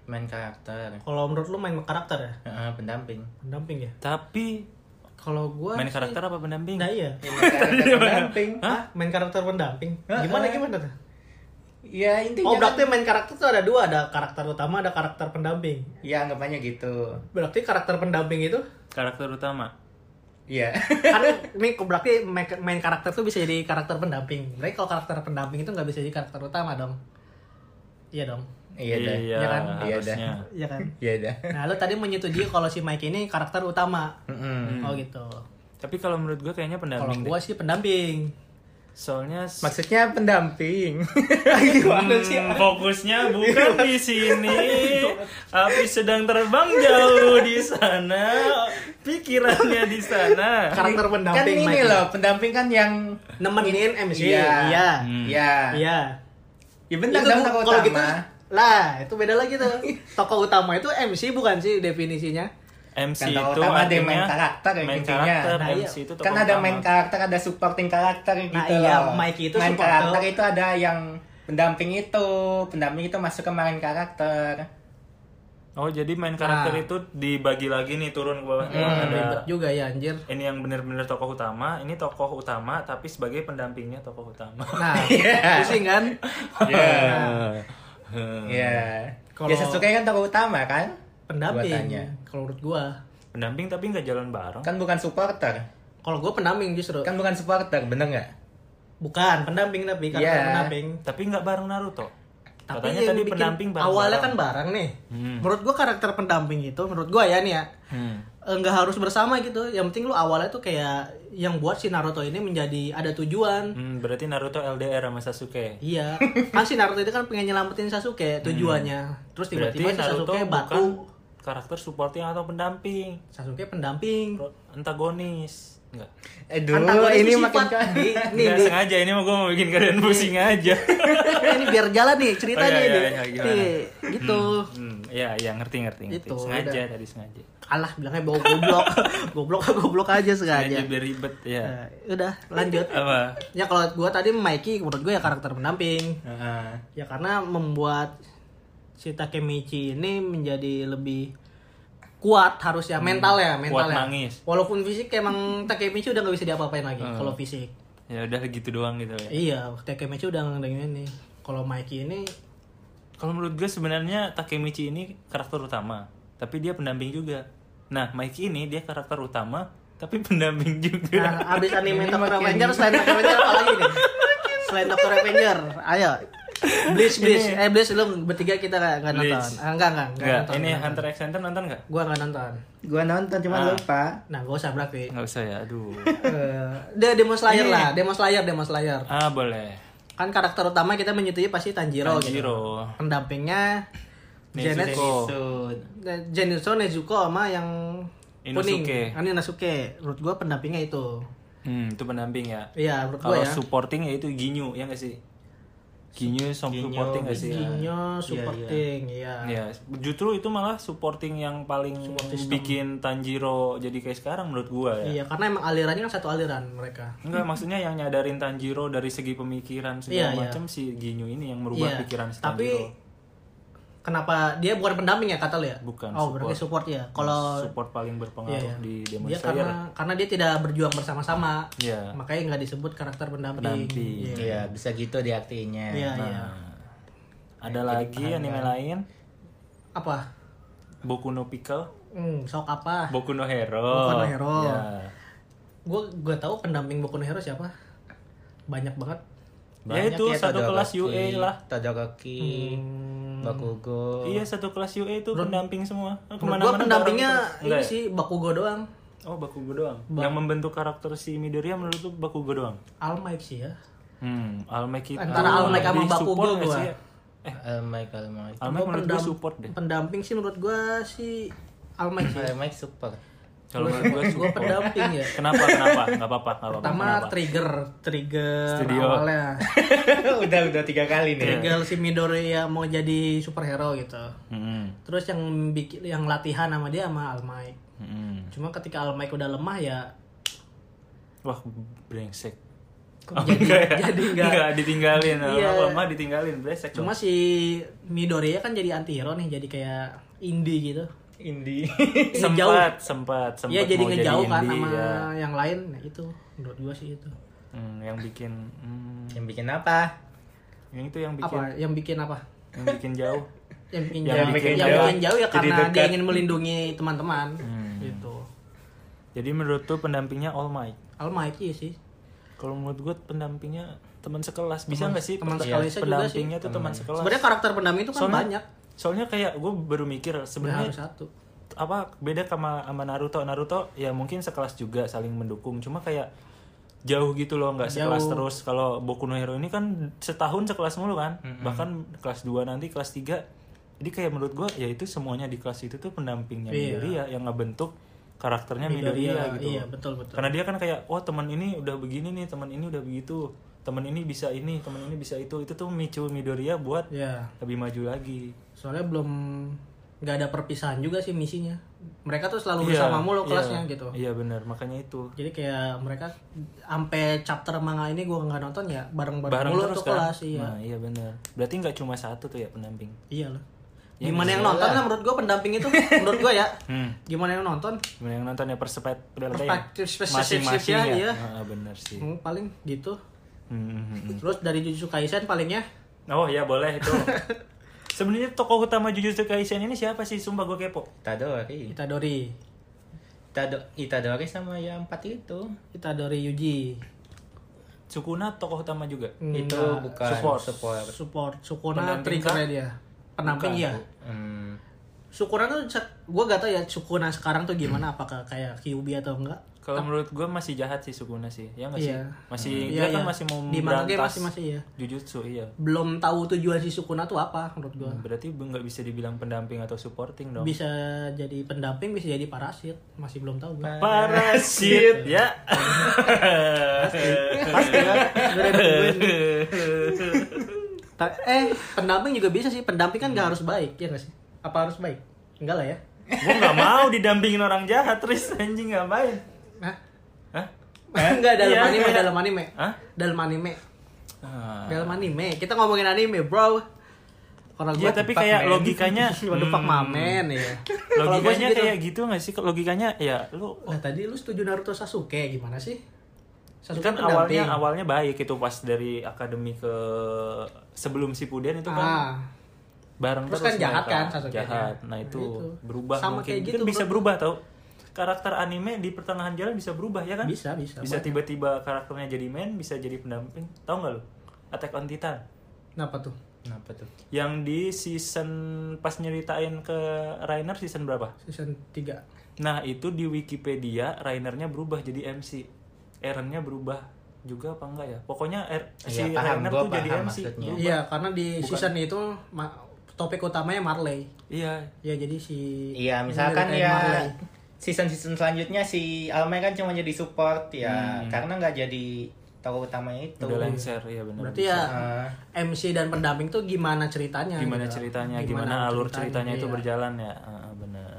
S3: Main karakter.
S2: Kalau menurut lo main karakter ya
S3: Heeh, pendamping.
S2: pendamping ya?
S1: tapi
S2: Kalau gua
S1: main
S2: sih-
S1: karakter apa pendamping
S2: Nah iya.
S3: Ya, main karakter pendamping.
S2: Hah? Main karakter pendamping?
S3: Heeh.
S1: Eh,
S2: Gimana gimana tuh?
S3: Ya
S2: Oh
S3: intinya kan-
S2: berarti main karakter tuh ada dua, ada karakter utama, ada karakter pendamping.
S3: ya anggapannya gitu.
S2: Berarti karakter pendamping itu
S1: karakter utama
S3: Iya.
S2: karena ini kok berarti main- main karakter tuh bisa jadi karakter pendamping berarti kalau karakter pendamping itu nggak bisa jadi karakter utama dong Iya dong.
S3: Iya dah.
S1: Iya,
S2: Iya kan?
S3: Iya dah.
S1: harusnya.
S2: Iya kan?
S3: Iya dah.
S2: Nah, lu tadi menyetujui kalau si Mike ini karakter utama.
S3: Mm-mm.
S2: Oh gitu.
S1: Tapi kalau menurut gue kayaknya
S2: Kalau
S1: pendamping.
S2: gua sih pendamping.
S1: Soalnya s-
S3: Maksudnya pendamping.
S1: Hmm, fokusnya bukan di sini. Api sedang terbang jauh di sana. Pikirannya di sana.
S2: Karakter
S3: kan
S2: pendamping
S3: ini
S2: Mike.
S3: loh, pendamping kan yang
S2: Nemenin MC.
S3: Iya.
S2: Iya.
S3: ya.
S2: Iya.
S3: Ya
S2: Itu
S3: bentar dong
S2: bu-
S3: tokoh
S2: kalau
S3: utama.
S2: gitu lah, itu beda lagi tuh. Tokoh utama itu MC bukan sih definisinya?
S1: MC
S3: Kan
S1: itu
S3: utama ada
S1: artinya
S3: main karakter yang
S1: main
S3: intinya.
S1: karakter.
S2: Nah, iya.
S1: MC itu
S3: kan
S1: tokoh
S3: ada
S1: utama.
S3: main karakter, ada supporting karakter gitu
S2: Nah, iya,
S3: loh.
S2: Mike itu
S3: main
S2: supporter.
S3: karakter itu ada yang pendamping itu, pendamping itu masuk ke main karakter.
S1: Oh jadi main karakter
S2: Nah.
S1: itu dibagi lagi nih turun ke
S3: Hmm.
S1: bawah. Ada
S2: Ribet juga ya anjir.
S1: ini yang benar-benar tokoh utama, ini tokoh utama tapi sebagai pendampingnya tokoh utama.
S2: Nah,
S3: Iya.
S2: pusing kan?
S3: Iya.
S1: Hmm.
S3: Iya.
S2: Kalau-
S3: Ya Sasuke kan tokoh utama kan?
S2: Pendamping.
S3: Buatannya.
S2: Kalau menurut gua,
S1: Pendamping tapi nggak jalan bareng.
S3: Kan bukan supporter.
S2: kalau gua pendamping justru.
S3: Kan bukan supporter, bener nggak?
S2: Bukan pendamping tapi karakter
S3: Iya.
S2: pendamping.
S1: Tapi nggak bareng Naruto.
S2: Tapi
S1: Katanya
S2: yang
S1: tadi
S2: bikin-
S1: pendamping Hmm. bareng.
S2: awalnya kan bareng nih. Menurut gua karakter pendamping itu menurut gua ya nih ya
S1: Hmm.
S2: eh, nggak harus bersama gitu. Yang penting lu awalnya tuh kayak yang buat si Naruto ini menjadi ada tujuan.
S1: Hmm, berarti Naruto LDR sama Sasuke.
S2: Iya, kan si Naruto itu kan pengen nyelamatin Sasuke tujuannya. Terus
S1: Hmm. Berarti
S2: tiba-tiba si
S1: Naruto
S2: Sasuke batu.
S1: bukan karakter supporting atau pendamping,
S2: Sasuke pendamping.
S1: Pro- antagonis. Enggak.
S3: Aduh,
S2: Antagonis
S3: ini
S2: itu
S3: makin
S2: sifat.
S3: ke-
S2: Nih, nih,
S1: Nggak
S2: nih.
S1: sengaja ini mau gue mau bikin kalian pusing aja.
S2: ini biar jalan nih ceritanya
S1: Oh, iya,
S2: nih.
S1: iya, iya, gimana?
S2: Nih, gitu.
S1: hmm, ya, ya ngerti ngerti ngerti.
S2: Itu,
S1: sengaja tadi sengaja.
S2: Alah bilangnya bawa goblok. goblok goblok aja
S1: Sengaja
S2: sengaja.
S1: biar ribet ya.
S2: Nah, udah lanjut.
S1: Apa?
S2: Ya kalau gua tadi Mikey menurut gue ya karakter pendamping.
S3: Heeh.
S2: Ya karena membuat si Takemichi ini menjadi lebih kuat harusnya mentalnya
S1: Hmm, kuat
S2: mentalnya.
S1: nangis.
S2: ya.
S1: Hmm.
S2: Walaupun fisik emang Takemichi udah nggak bisa diapa-apain lagi kalau fisik.
S1: Ya udah gitu doang gitu ya.
S2: Iya, Takemichi udah ngedengin ini. Kalau Mikey ini
S1: Kalau menurut gue sebenarnya Takemichi ini karakter utama, tapi dia pendamping juga. Nah, Mikey ini dia karakter utama tapi pendamping juga.
S2: nah, abis anime Tokyo Revenger selain Tokyo Revenger apa lagi nih? Selain Tokyo Revenger, ayo. Bleach, Bleach. Eh, Bleach lu bertiga kita nggak nggak
S1: Bleach.
S2: nonton. Ah, Enggak, enggak, enggak
S1: Enggak,
S2: nonton.
S1: ini Hunter x Hunter nonton nggak?
S2: Gua nggak nonton.
S3: Gua nonton cuma lupa.
S2: Nah, gak usah berarti.
S1: Nggak usah ya, aduh.
S2: Eh, Dia demo slayer lah, demo slayer, demo slayer.
S1: ah boleh.
S2: Kan karakter utama kita menyetujui pasti Tanjiro, gitu.
S1: Tanjiro.
S2: Pendampingnya Janet,
S1: Nezuko.
S2: Zenitsu, Nezuko sama yang kuning.
S1: Inosuke.
S2: Ah, Ini Nasuke. Menurut gua pendampingnya itu.
S1: Hmm, itu pendamping ya.
S2: Iya, menurut
S1: Kalau
S2: gua ya.
S1: supporting ya itu Ginyu, ya nggak sih? Ginyu sama supporting nggak sih? Iya.
S2: Ginyo supporting, iya.
S1: Ya, justru itu malah supporting yang paling bikin Tanjiro jadi kayak sekarang menurut gua ya.
S2: Iya, karena emang alirannya kan satu aliran mereka.
S1: Enggak, maksudnya yang nyadarin Tanjiro dari segi pemikiran segala
S2: Iya, iya.
S1: macam si Ginyu ini yang merubah
S2: Iya,
S1: pikiran gitu. si
S2: tapi
S1: Tanjiro.
S2: kenapa dia bukan pendamping ya kata lu ya?
S1: Bukan,
S2: Oh, berarti support ya. Kalau
S1: support paling berpengaruh
S2: Iya, iya.
S1: di demo
S2: dia
S1: Slayer.
S2: karena karena dia tidak berjuang bersama-sama.
S1: Iya.
S2: Makanya nggak disebut karakter pendamping.
S1: Pendamping. Nah.
S2: Iya.
S3: Iya, bisa gitu di artinya.
S2: Iya,
S1: Ya
S2: iya.
S1: Ada lagi anime lain?
S2: Apa?
S1: Boku no Pickle,
S2: Hmm, sok apa?
S1: Boku no Hero.
S2: Boku no Hero.
S1: Ya.
S2: Gue gue tahu pendamping Boku no Hero siapa? Banyak banget.
S1: Ya itu satu kelas UA lah. Hmm.
S3: Todoroki, Bakugo.
S1: Iya, satu kelas UA itu pendamping semua. Oh,
S2: Menurut
S1: kemana-mana
S2: gua pendampingnya
S1: bareng terus.
S2: ini
S1: Enggak ya?
S2: sih Bakugo doang.
S1: Oh, Bakugo doang. yang membentuk karakter si Midoriya menurut lu Bakugo doang.
S2: All Might sih ya.
S1: Hmm, All Might itu
S2: Antara All Might sama
S1: lebih
S2: Bakugo
S1: support nggak
S2: gua.
S1: sih ya?
S3: Eh, Michael Mike.
S1: All Might menurut gue support deh.
S2: Pendamping sih menurut gua sih All Might sih.
S3: Michael Eh, Mike super.
S1: Kalau menurut gue
S2: Gua
S1: support.
S2: pendamping ya.
S1: Kenapa? Kenapa? Gak apa-apa. Gak apa-apa.
S2: Pertama trigger, trigger
S1: Studio. ya.
S2: awalnya.
S3: udah udah tiga kali nih.
S2: Trigger si Midoriya mau jadi superhero gitu.
S1: Hmm,
S2: Terus yang bikin yang latihan sama dia sama All Might.
S1: hmm.
S2: Cuma ketika All Might udah lemah ya
S1: Wah, brengsek.
S2: kok
S1: Oh, ya?
S2: jadi jadi enggak.
S1: ditinggalin.
S2: Iya.
S1: Lama-lama ditinggalin, brengsek.
S2: Cuma si Midoriya kan jadi antihero nih, jadi kayak indie gitu.
S3: Indi.
S1: dong. sempat, sempat, sempat.
S2: Iya jadi
S1: mau
S2: ngejauh kan
S1: indie,
S2: sama
S1: ya.
S2: yang lain. Nah, itu menurut gua sih itu.
S1: Hmm, yang bikin hmm,
S3: Yang bikin apa?
S1: yang itu yang bikin
S2: Apa yang bikin apa?
S1: yang bikin jauh.
S2: Yang bikin
S1: Yang
S2: jauh,
S1: bikin
S2: yang
S1: jauh. Hmm.
S2: bikin jauh ya
S3: Jadi
S2: karena dia
S3: dekat.
S2: ingin melindungi teman-teman. Gitu.
S1: Jadi menurut tuh pendampingnya All Might.
S2: All Might iya sih.
S1: kalau menurut gue pendampingnya teman sekelas bisa nggak sih
S2: teman
S1: pe-
S2: sekelas juga sih.
S1: pendampingnya tuh teman sekelas
S2: Sebenarnya karakter pendamping itu kan
S1: Soalnya-
S2: banyak.
S1: soalnya kayak gue baru mikir sebenarnya
S2: Sebenarnya harus satu.
S1: apa beda sama sama Naruto Naruto ya mungkin sekelas juga saling mendukung cuma kayak jauh gitu loh nggak sekelas
S2: Jauh.
S1: terus kalau Boku no Hero ini kan setahun sekelas mulu kan bahkan kelas 2 nanti kelas 3 jadi kayak menurut gua ya itu semuanya di kelas itu tuh pendampingnya
S2: Iya.
S1: Midoriya yang ngebentuk
S2: kan
S1: karakternya Midoriya, gitu
S2: Iya, betul betul.
S1: karena dia kan kayak oh teman ini udah begini nih teman ini udah begitu teman ini bisa ini teman ini bisa itu itu tuh micu Midoriya buat
S2: Ya,
S1: lebih maju lagi
S2: soalnya belum nggak ada perpisahan juga sih misinya. Mereka tuh selalu
S1: Iya,
S2: bersama
S1: iya.
S2: mulu kelasnya gitu.
S1: iya benar makanya itu
S2: Jadi kayak mereka sampai chapter manga ini gua nggak nonton ya bareng-bareng
S1: bareng
S2: mulu
S1: terus
S2: tuh
S1: kan?
S2: kelas iya.
S1: Nah, iya benar. Berarti nggak cuma satu tuh ya pendamping.
S2: Iya loh.
S1: Ya,
S2: Gimana
S1: iya
S2: yang nonton lah menurut gua pendamping itu menurut gua ya. Gimana yang nonton?
S1: Hmm. Gimana yang nonton ya perspek
S2: Perspektif spesifik
S1: masing-masing
S2: ya,
S1: ya.
S2: iya.
S1: Ah, benar sih.
S2: Hmm, paling gitu.
S1: Hmm, hmm, hmm.
S2: Terus dari Jujutsu Kaisen palingnya
S1: Oh ya boleh itu. Sebenarnya tokoh utama Jujutsu Kaisen ini siapa sih? Sumpah gue kepo.
S3: Itadori.
S2: Itadori.
S3: Itado- Itadori sama ya empat itu.
S2: Itadori Yuji.
S1: Sukuna tokoh utama juga.
S3: Itu bukan
S1: Hmm, nah, Support.
S3: support.
S2: Support Sukuna
S1: Pendamping
S2: triggernya dia. Pendamping ya.
S3: Hmm,
S2: Sukuna tuh gue gak tau ya Sukuna sekarang tuh gimana apakah kayak Kyuubi atau enggak.
S1: Kalau menurut gue masih jahat sih Sukuna sih. Ya nggak sih?
S2: Iya.
S1: Masih
S2: Iya,
S1: dia kan
S2: iya.
S1: masih mau
S2: Di manga dia
S1: memberantas
S2: masih masih ya.
S1: Jujutsu iya.
S2: Belum tahu tujuan si Sukuna tuh apa menurut gue.
S1: Berarti nggak bisa dibilang pendamping atau supporting dong.
S2: Iya. Bisa jadi pendamping, bisa jadi parasit, masih belum tahu gue. Iya.
S1: Parasit ya.
S2: Pasti kan? Gua udah nungguin. Ta- eh, pendamping juga bisa sih. Pendamping kan
S1: Hmm.
S2: gak harus baik, ya gak sih? Apa harus baik? Enggak lah ya.
S1: gue nggak mau didampingin orang jahat Tris anjing ngapain
S2: Hah?
S1: Hah?
S2: Enggak dalam
S1: Iya,
S2: anime,
S1: iya.
S2: dalam anime.
S1: Hah?
S2: Dalam anime.
S1: Ah.
S2: Dalam anime. Kita ngomongin anime, Bro. Kalau
S1: Iya, tapi kayak logikanya- hmm.
S2: Waduh, fuck mamen ya. Kalau gua
S1: logikanya
S2: gitu.
S1: kayak gitu nggak sih logikanya ya lu
S2: Nah, tadi lu setuju Naruto Sasuke gimana sih? Sasuke
S1: kan
S2: pendamping.
S1: awalnya awalnya baik itu pas dari akademi ke sebelum Shippuden itu kan
S2: Ah.
S1: bareng
S2: Terus
S1: terus,
S2: kan jahat
S1: mereka.
S2: kan Sasuke-nya.
S1: jahat nah itu,
S2: Nah, itu.
S1: berubah
S2: Sama
S1: mungkin
S2: kayak
S1: Mungkin
S2: gitu,
S1: bisa
S2: bro.
S1: berubah tau karakter anime di pertengahan jalan bisa berubah ya kan
S2: Bisa, bisa.
S1: bisa tiba-tiba karakternya jadi main bisa jadi pendamping tau nggak lu Attack on Titan
S2: Kenapa tuh?
S3: kenapa tuh?
S1: yang di season pas nyeritain ke Rainer season berapa?
S2: Season 3.
S1: Nah itu di Wikipedia Rainernya berubah jadi MC Aaronnya berubah juga apa enggak ya Pokoknya R- si
S3: Iya, paham.
S1: Rainer
S3: Gua
S1: tuh jadi
S3: paham
S1: MC
S3: maksudnya.
S1: Berubah.
S2: Iya, karena di season itu ma- topik utamanya Marley.
S1: Iya
S2: Ya jadi si
S3: Iya, misalkan
S2: Nyeritain Marley.
S3: ya season-season selanjutnya si Almay kan cuma jadi support ya karena nggak jadi tokoh utamanya itu.
S1: Hmm. udah lancer
S3: Iya,
S1: ya benar
S2: Berarti ya MC dan pendamping tuh gimana ceritanya?
S1: Gimana
S2: gitu.
S1: ceritanya Iya, Gimana, alur ceritanya, itu
S2: iya.
S1: berjalan ya Ah, benar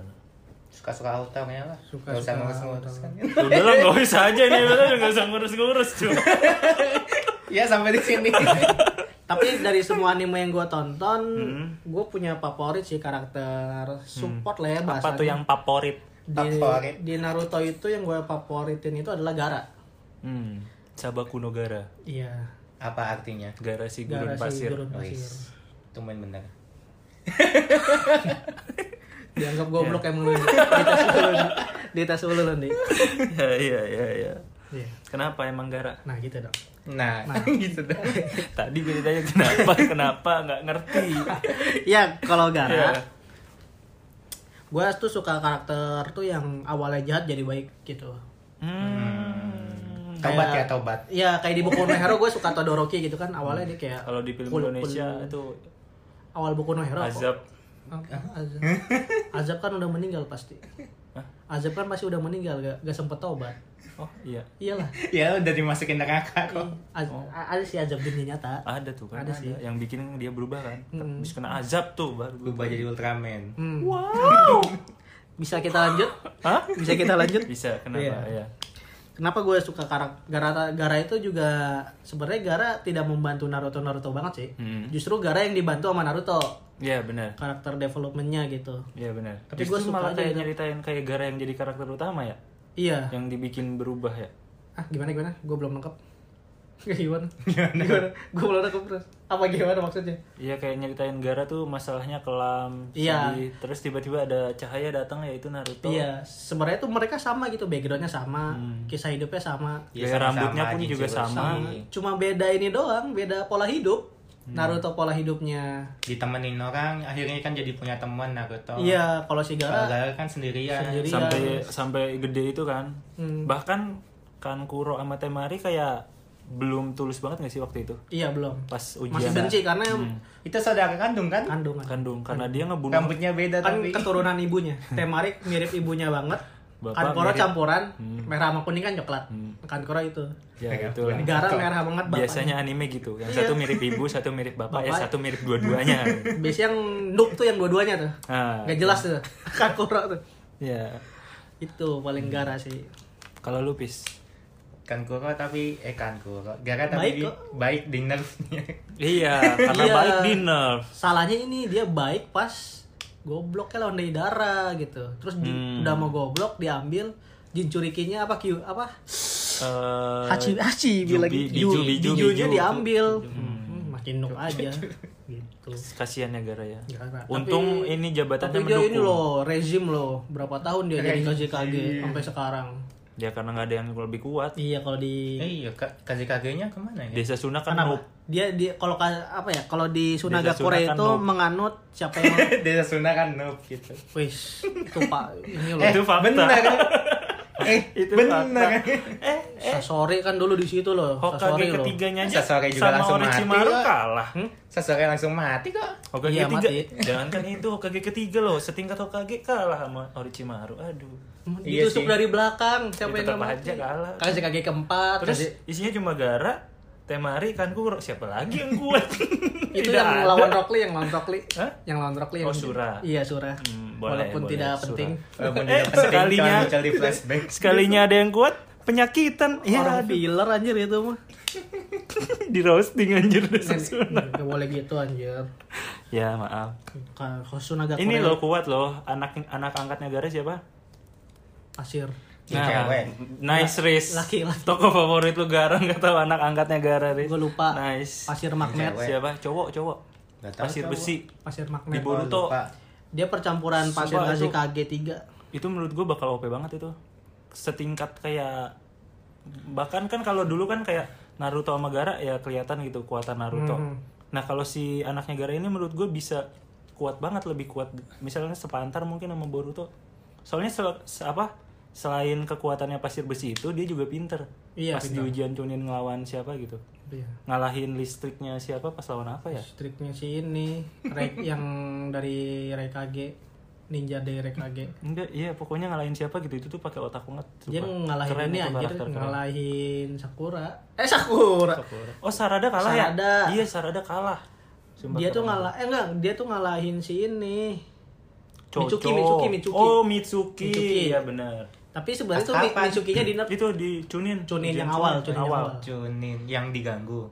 S3: Suka-suka autornya lah.
S2: Suka-suka
S3: Nggak usah ngurus-ngurus kan.
S1: Udah lah gak usah aja nih Udah gak usah ngurus-ngurus cuy
S3: Iya, sampai di sini.
S2: Tapi dari semua anime yang gue tonton,
S1: Hmm.
S2: gue punya favorit sih karakter support lah ya
S1: Apa
S2: bahasanya.
S1: tuh yang favorit
S2: di,
S3: Favorit.
S2: di Naruto itu yang gue favoritin itu adalah Gara.
S1: Hmm Sabaku no Gara
S2: Iya.
S3: Apa artinya?
S1: Gara si gurun
S2: Gara
S1: pasir
S2: gurun pasir.
S3: Wis. Tumben bener.
S2: Dianggap goblok
S1: Iya.
S2: emang lu. Di tas ulun. Di tas ulun nih.
S1: Ya ya ya ya
S2: Iya.
S1: Kenapa emang Gara? Eh,
S2: Nah gitu dong.
S3: Nah, gitu dah.
S1: Tadi gue ditanya kenapa, kenapa, nggak ngerti. Iya.
S2: ya kalau Gara gue tuh suka karakter tuh yang awalnya jahat jadi baik gitu
S1: Hmm.
S3: Tobat ya, tobat.
S2: ya kayak di buku no Hero gue suka Todoroki gitu kan awalnya dia kayak
S1: Kalau di film
S2: Kul-
S1: Indonesia
S2: kul-
S1: itu
S2: awal buku no Hero apa?
S1: azab.
S2: Apa? Azab Azab kan udah meninggal pasti Azab kan pasti udah meninggal gak, gak sempet tobat
S1: Oh iya,
S2: iyalah
S3: Ya udah dimasukin neraka kok.
S2: Az- a- ada si Azab dunia nyata
S1: ada tuh kan.
S2: Ada sih.
S1: Yang bikin dia berubah kan. Habis kena azab tuh baru.
S3: Berubah jadi Ultraman.
S2: Hmm.
S1: Wow.
S2: bisa kita lanjut
S1: Hah?
S2: bisa kita lanjut
S1: Bisa kenapa? Ya.
S2: Iya. Kenapa gue suka Gara- Gara Gara itu juga sebenarnya Gara tidak membantu Naruto Naruto banget sih.
S1: Hmm.
S2: Justru Gara yang dibantu sama Naruto
S1: Iya benar.
S2: karakter developmentnya gitu.
S1: Iya benar.
S2: Tapi
S1: Tapi
S2: gua
S1: gue
S2: suka
S1: malah
S2: aja
S1: kayak
S2: gitu.
S1: nyeritain kayak Gara yang jadi karakter utama ya,
S2: Iya.
S1: yang dibikin berubah ya.
S2: Ah gimana gimana? Gue belum lengkap. Kayak gimana? Gimana? Gue belum ada kepres. Apa gimana maksudnya?
S1: Iya kayak nyeritain Gara tuh masalahnya kelam,
S2: Iya.
S1: sedih. terus tiba-tiba ada cahaya datang yaitu Naruto.
S2: Iya,
S1: Gitu.
S2: sebenarnya tuh mereka sama gitu, backgroundnya sama, kisah hidupnya sama.
S3: Iya,
S1: Gaya rambutnya pun juga Hmm. sama.
S2: Cuma beda ini doang, beda pola hidup.
S1: Hmm.
S2: Naruto pola hidupnya.
S3: Ditemenin orang, akhirnya kan jadi punya teman
S1: Oh.
S3: Naruto.
S2: Iya, kalau si
S3: Kalau
S2: Gara
S3: Gaara kan sendirian.
S2: Sendiri.
S1: Sampai sampai gede itu kan.
S2: Hmm.
S1: Bahkan kan Kuro sama Temari kayak belum tulus banget gak sih waktu itu?
S2: iya belum.
S1: Pas
S2: Masih
S1: ujian
S2: benci karena
S1: Hmm.
S3: Itu saudara kandung kan?
S2: kandungan.
S1: kandung karena dia ngebunuh
S3: Rambutnya beda
S2: Kan
S3: tapi.
S2: keturunan ibunya. Temarik mirip ibunya banget.
S1: Hmm. Bapak
S2: Kankoro
S1: mirip- Hmm.
S2: campuran, merah sama kuning kan coklat. Kankoro itu.
S1: ya itu
S2: Gara merah banget bapaknya.
S1: biasanya anime gitu yang satu mirip ibu satu mirip bapak, ya
S2: Iya. Bapak.
S1: satu mirip dua-duanya
S2: Biasanya yang noob tuh yang dua-duanya tuh.
S1: nah
S2: Gak jelas tuh. Kankoro tuh. iya.
S1: ya
S2: Itu paling Gara sih.
S1: kalau lupis
S3: Kan Kuro tapi eh kan Kuro. Gara tapi
S2: Baik kok.
S3: baik di nerfnya.
S1: iya karena
S2: Iya.
S1: baik dinner
S2: salahnya ini dia baik pas gobloknya lawan dari darah gitu terus di-
S1: Hmm.
S2: udah mau goblok diambil jincurikinya apa Q apa
S1: Eh,
S2: hachi hachi
S1: Jubi-
S2: bilang
S1: Biju,
S2: Ju-
S1: Biju,
S2: bijunya
S1: Biju.
S2: diambil Hmm, makin nuk aja gitu
S1: kasihan ya gara ya
S2: Gara.
S1: untung
S2: Tapi-
S1: ini jabatannya
S2: tapi dia
S1: mendukung
S2: ini loh rezim loh berapa tahun dia jadi
S3: Rezim.
S2: KJKG sampai sekarang
S1: ya karena nggak ada yang lebih kuat
S2: iya kalau di
S3: Eh, iya, kasih kagenya kemana ya?
S1: desa Suna kan
S2: Kenapa?
S1: nuk.
S2: dia dia kalau ka- apa ya kalau di Sunagakure
S1: Sunagakan
S2: itu
S1: nuk.
S2: menganut siapa yang
S3: Desa Sunda kan noob gitu.
S2: wis itu pak ini loh
S1: itu fakta
S3: Benar kan? Eh,
S1: Itu
S3: benar.
S1: eh
S2: Sasori kan dulu di situ loh.
S1: Hokage
S2: Sasori loh.
S1: ketiganya aja
S3: Sasori juga
S1: sama
S3: langsung
S1: Orochimaru
S3: mati, kok.
S1: kalah
S3: Hmm? Sasori langsung mati kok.
S1: Hokage
S2: Iya,
S1: ketiga
S2: mati.
S1: jangan kan itu Hokage ketiga loh setingkat Hokage kalah sama Orochimaru aduh
S3: Iya
S2: Ditusuk
S3: sih.
S2: dari belakang. Siapa
S1: Ya,
S2: yang
S1: tetap
S2: nggak
S1: aja
S2: mati?
S1: kalah.
S2: Kasih kaki keempat.
S1: terus
S2: kasih-
S1: isinya cuma Gara Temari kan Kuro siapa lagi yang kuat
S2: itu
S1: Tidak
S2: yang
S1: ada.
S2: lawan Rockley, yang lawan Rockley.
S1: Hah?
S2: Yang lawan Rockley.
S1: Oh,
S2: yang-
S1: Sura.
S2: Iya, Sura.
S1: Hmm, boleh,
S2: Walaupun
S1: boleh,
S2: tidak
S1: Sura.
S2: penting.
S3: Walaupun
S1: Eh,
S3: tidak penting,
S1: sekalinya.
S3: kalau muncul di flashback.
S1: sekalinya ada yang kuat penyakitan ya
S2: Orang filler anjir itu mah.
S1: di roasting anjir Desa Suna.
S2: Nggak boleh gitu anjir.
S1: ya maaf
S2: Kan Hosunaga
S1: ini loh kuat loh anak anak angkatnya Gara siapa Nah,
S2: pasir.
S3: Ini cewek.
S1: nice Riz.
S2: laki-laki.
S1: Toko favorit lu Gara nggak tahu anak angkatnya Gara Riz.
S2: Gue lupa.
S1: Nice.
S2: Pasir magnet.
S3: Cewek.
S1: Siapa? Cowok, cowok.
S3: Nggak tahu
S1: Pasir
S3: cowok.
S1: besi.
S2: Pasir
S1: Di
S2: magnet.
S3: Oh,
S1: Boruto.
S3: lupa.
S2: Dia percampuran pasir
S1: Sumpah,
S2: kasih
S1: itu-
S2: kaki tiga.
S1: Itu menurut gue bakal OP banget itu. Setingkat kayak bahkan kan kalau dulu kan kayak Naruto sama Gara ya kelihatan gitu kekuatan Naruto.
S2: Mhm.
S1: Nah, kalau si anaknya Gara ini menurut gue bisa kuat banget lebih kuat. Misalnya sepantar mungkin sama Boruto. Soalnya sel- se- apa? Selain kekuatannya pasir besi itu, dia juga pinter.
S2: Iya,
S1: Pas di ujian Chunin ngelawan siapa gitu.
S2: Iya.
S1: ngalahin listriknya siapa pas lawan apa ya?
S2: Striknya si ini, Rek- yang dari Rekage, ninja dari Rekage.
S1: Enggak, iya pokoknya ngalahin siapa gitu itu tuh pakai otak banget. sumpah.
S2: Dia ngalahin
S1: Keren
S2: ini
S1: itu
S2: anjir,
S1: karakter, keren.
S2: ngalahin Sakura. Eh Sakura.
S1: Oh Sarada kalah ya?
S2: Sarada.
S1: Iya Sarada kalah. Sumpah
S2: Dia tuh
S1: keren.
S2: ngalah eh enggak, dia tuh ngalahin si ini.
S1: Cocok.
S2: Mitsuki, Mitsuki, Mitsuki.
S1: Oh Mitsuki.
S2: Mitsuki.
S1: Iya benar.
S2: Tapi sebenarnya tuh Mi-
S3: Kapan?
S2: Mitsukinya di nerf.
S1: Itu di Chunin.
S2: Chunin
S1: Ujian
S2: yang awal, Chunin yang
S1: awal.
S2: awal.
S3: Chunin yang diganggu.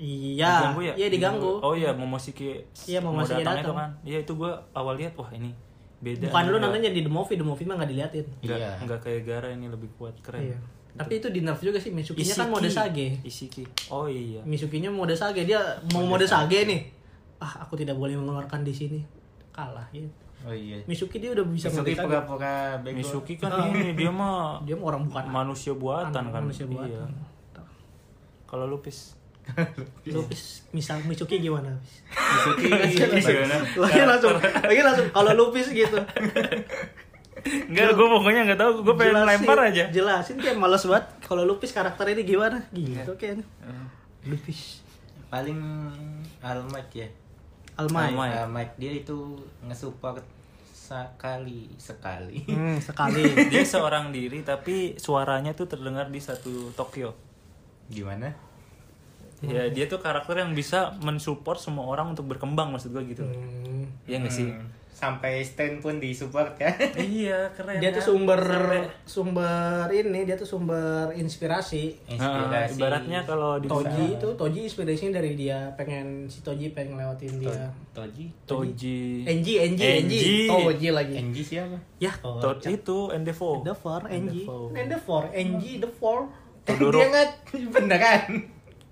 S2: Iya,
S1: Diganggu ya?
S2: iya diganggu.
S1: Oh iya Momoshiki.
S2: Iya, Momoshiki
S1: mau datang
S2: datang.
S1: itu kan. Iya itu gua awal lihat wah ini beda.
S2: Bukan lu
S1: Enggak-
S2: nontonnya di The Movie, The Movie mah enggak diliatin.
S1: enggak-
S3: Iya.
S1: enggak kayak Gara ini lebih kuat keren.
S2: Iya. Tapi itu di nerf juga sih Mitsukinya kan mode sage.
S1: Isiki. Oh iya.
S2: Mitsukinya mode sage, dia mau mode sage nih. Ah, aku tidak boleh mengeluarkan di sini. Kalah gitu.
S3: Oh iya.
S2: Misuki dia udah bisa
S3: Misuki
S2: merdeka.
S3: pura-pura bego.
S1: Misuki kan ini dia mah
S2: Dia mah orang bukan
S1: manusia buatan
S2: anak
S1: kan.
S2: manusia buatan.
S1: Iya. Kalau lupis.
S2: Lu pis- misal Misuki gimana? Pis?
S3: Misuki
S1: Iya,
S3: gimana?
S2: Lagi langsung, lagi langsung kalau lupis gitu.
S1: Enggak, gue pokoknya nggak tahu. Gue pengen
S2: Jelasin-
S1: lempar aja.
S2: Jelasin kayak males banget kalau lupis karakter ini gimana?
S1: Iya.
S2: Gitu kayaknya.
S1: Eh.
S2: Lupis.
S3: Paling Almight ya.
S2: Almay.
S1: Almay.
S3: Almight dia itu ngesupport sekali sekali.
S2: Hmm, sekali.
S1: Dia seorang diri tapi suaranya tuh terdengar di satu Tokyo.
S3: Gimana?
S2: Hmm.
S1: Ya, dia tuh karakter yang bisa mensupport semua orang untuk berkembang maksud gue gitu.
S2: Hmm.
S1: Iya nggak sih?
S3: Hmm, Sampai stand pun disupport ya.
S1: iya, keren.
S2: Dia tuh
S1: kan?
S2: sumber
S1: Sampai-
S2: sumber ini, dia tuh sumber inspirasi.
S1: Heeh,
S3: Inspirasi.
S1: Ah, ibaratnya kalau di
S2: Toji itu Toji inspirasinya dari dia pengen si Toji pengen ngelewatin dia.
S3: Toji.
S1: Toji.
S2: Enji, Enji, Enji,
S1: Enji.
S2: Toji lagi.
S3: NG siapa?
S2: Ya, oh.
S1: Tot itu Endeavor.
S2: The Four, Enji, And the Four, Enji, The Four,
S1: Todoro-
S3: Dia nggak kan? beneran.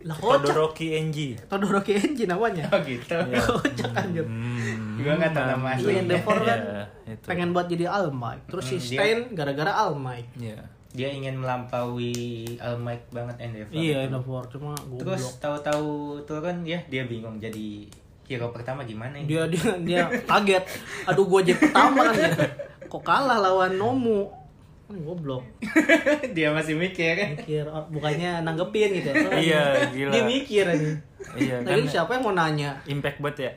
S2: Lah kocak.
S1: Todoroki NG.
S2: Todoroki Enji namanya.
S3: Oh gitu.
S2: Kocak anjir.
S1: Iya. Hmm.
S3: Gua nggak tahu nama
S2: Iya,
S3: aslinya.
S2: The Four kan
S1: Iya, itu.
S2: pengen buat jadi Almike. Terus si
S3: Hmm, dia-
S2: Stein gara-gara Almike.
S1: Iya.
S3: Dia ingin melampaui Almighty banget Endeavor.
S2: Iya, The Four cuma goblok.
S3: Terus tahu-tahu turun ya dia bingung jadi hero pertama gimana ya?
S2: Dia dia dia kaget. Aduh, gua jadi pertama kan. ya. Kok kalah lawan Nomu? Kan goblok.
S3: dia masih mikir.
S2: Mikir oh, bukannya nanggepin gitu.
S1: Iya, gila.
S2: Dia mikir ini.
S1: Iya, kan
S2: Lagi siapa yang mau nanya?
S1: impact banget ya.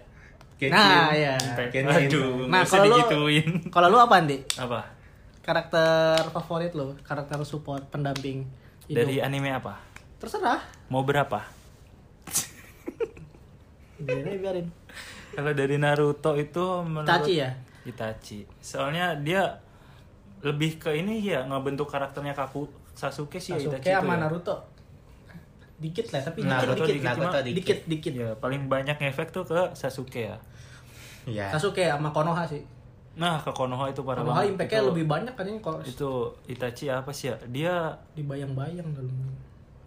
S3: Genshin.
S2: Nah, iya.
S1: Impact.
S3: Genshin.
S1: Aduh, nah,
S2: Nah, kalau lu-
S1: digituin.
S2: Kalau lu apa, Andi?
S1: Apa?
S2: Karakter favorit lu, karakter support pendamping hidup.
S1: Dari anime apa?
S2: Terserah.
S1: Mau berapa?
S2: Biarin, biarin.
S1: Kalau dari Naruto itu menurut
S2: Itachi ya?
S1: Itachi. Soalnya dia lebih ke ini ya ngebentuk karakternya Kaku Sasuke sih ya,
S2: Sasuke
S1: Itachi itu
S2: sama
S1: ya.
S2: Naruto. Dikit lah, tapi
S3: Naruto
S2: dikit, dikit,
S3: dikit, Naruto
S2: dikit,
S3: dikit.
S2: dikit, dikit.
S1: Ya, paling banyak efek tuh ke Sasuke ya.
S3: Ya.
S2: Sasuke sama Konoha sih.
S1: Nah, ke Konoha itu parah
S2: Konoha
S1: banget.
S2: impact-nya
S1: Itu-
S2: lebih banyak kan ini kalau
S1: Itu Itachi apa sih ya? Dia
S2: dibayang-bayang dalam.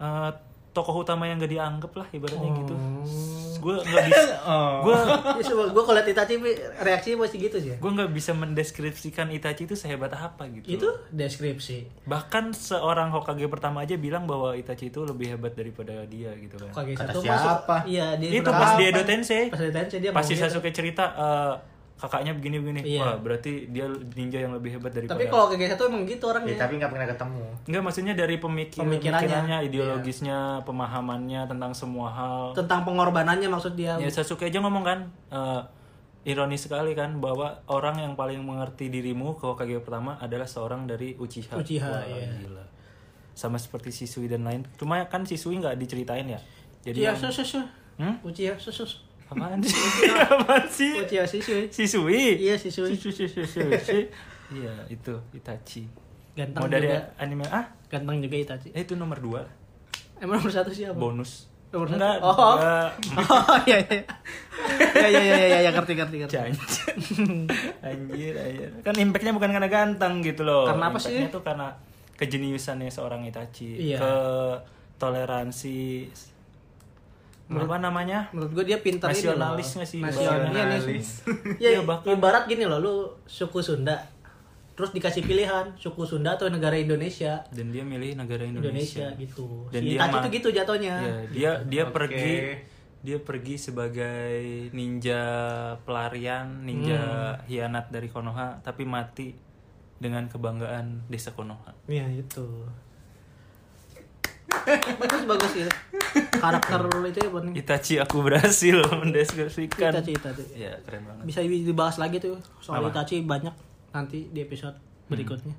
S1: eh, tokoh utama yang gak dianggap lah ibaratnya gitu.
S2: Oh.
S1: Gue nggak bisa,
S3: Oh.
S1: gue
S2: Ya, coba gue kalau liat Itachi reaksinya pasti gitu sih. ya.
S1: gue nggak bisa mendeskripsikan Itachi itu sehebat apa gitu.
S2: Itu deskripsi.
S1: Bahkan seorang Hokage pertama aja bilang bahwa Itachi itu lebih hebat daripada dia gitu kan.
S2: Kage
S3: Kata
S2: satu
S3: siapa?
S2: masuk. Iya, dia
S1: itu
S2: pernah-
S1: pas
S3: Kapan?
S1: di Edo Tensei.
S2: pas di Tensei dia
S1: Pasti
S2: ngomong gitu.
S1: Sasuke cerita eh, kakaknya begini-begini.
S2: Iya.
S1: Wah, berarti dia ninja yang lebih hebat daripada
S2: Tapi kalau Kage satu emang gitu orangnya.
S3: Ya, tapi nggak pernah ketemu.
S1: Enggak, maksudnya dari pemikir-
S2: Pemikirannya. Iya.
S1: pemikirannya, ideologisnya, pemahamannya tentang semua hal.
S2: Tentang pengorbanannya maksud dia.
S1: Ya Sasuke aja ngomong kan, eh, ironis sekali kan bahwa orang yang paling mengerti dirimu ke Hokage pertama adalah seorang dari Uchiha.
S2: Uchiha,
S1: Wah,
S2: iya.
S1: gila. Sama seperti Shisui dan lain. Cuma kan Shisui nggak diceritain ya. Jadi
S2: Uchiha
S1: yang-
S2: Iya, sus sus.
S1: Hmm?
S2: Uchiha sus sus.
S1: apaan sih? apaan sih?
S2: Uchiha Shisui.
S1: Shisui.
S2: Iya Shisui.
S1: Shisui, Shisui, Shisui. Iya, itu Itachi.
S2: Ganteng
S1: Mau dari
S2: juga.
S1: anime ah?
S2: Ganteng juga Itachi.
S1: Eh, itu nomor dua
S2: Emang nomor satu siapa?
S1: bonus.
S2: Nomor satu?
S1: Enggak,
S2: Oh.
S1: enggak.
S2: Oh iya iya. Ya ya ya ya ya ngerti ngerti ngerti.
S1: Janji. anjir, anjir. Kan impactnya bukan karena ganteng gitu loh.
S2: Karena apa
S1: Impact-nya
S2: sih?
S1: tuh karena kejeniusannya seorang Itachi
S2: Iya.
S1: ke toleransi apa namanya?
S2: Menurut gue dia pinter ini loh.
S1: Nasionalis nggak sih?
S2: Nasionalis. Iya,
S3: Nasionalis.
S2: Ya,
S1: Iya, bahkan-
S2: ibarat gini loh lu suku Sunda. Terus dikasih pilihan suku Sunda atau negara Indonesia.
S1: Dan dia milih negara
S2: Indonesia,
S1: Indonesia.
S2: gitu.
S1: Dan
S2: si
S1: dia
S2: Itachi
S1: ma-
S2: tuh gitu jatuhnya.
S1: Iya, dia dia
S3: Oke.
S1: pergi dia pergi sebagai ninja pelarian, ninja
S2: Hmm.
S1: hianat dari Konoha tapi mati dengan kebanggaan desa Konoha.
S2: Iya itu. bagus bagus gitu. Karakter lu itu ya bener.
S1: Itachi aku berhasil mendeskripsikan.
S2: Itachi Itachi.
S1: Iya, keren banget.
S2: Bisa dibahas lagi tuh soal
S1: Apa? Hmm.
S2: Itachi banyak nanti di episode berikutnya.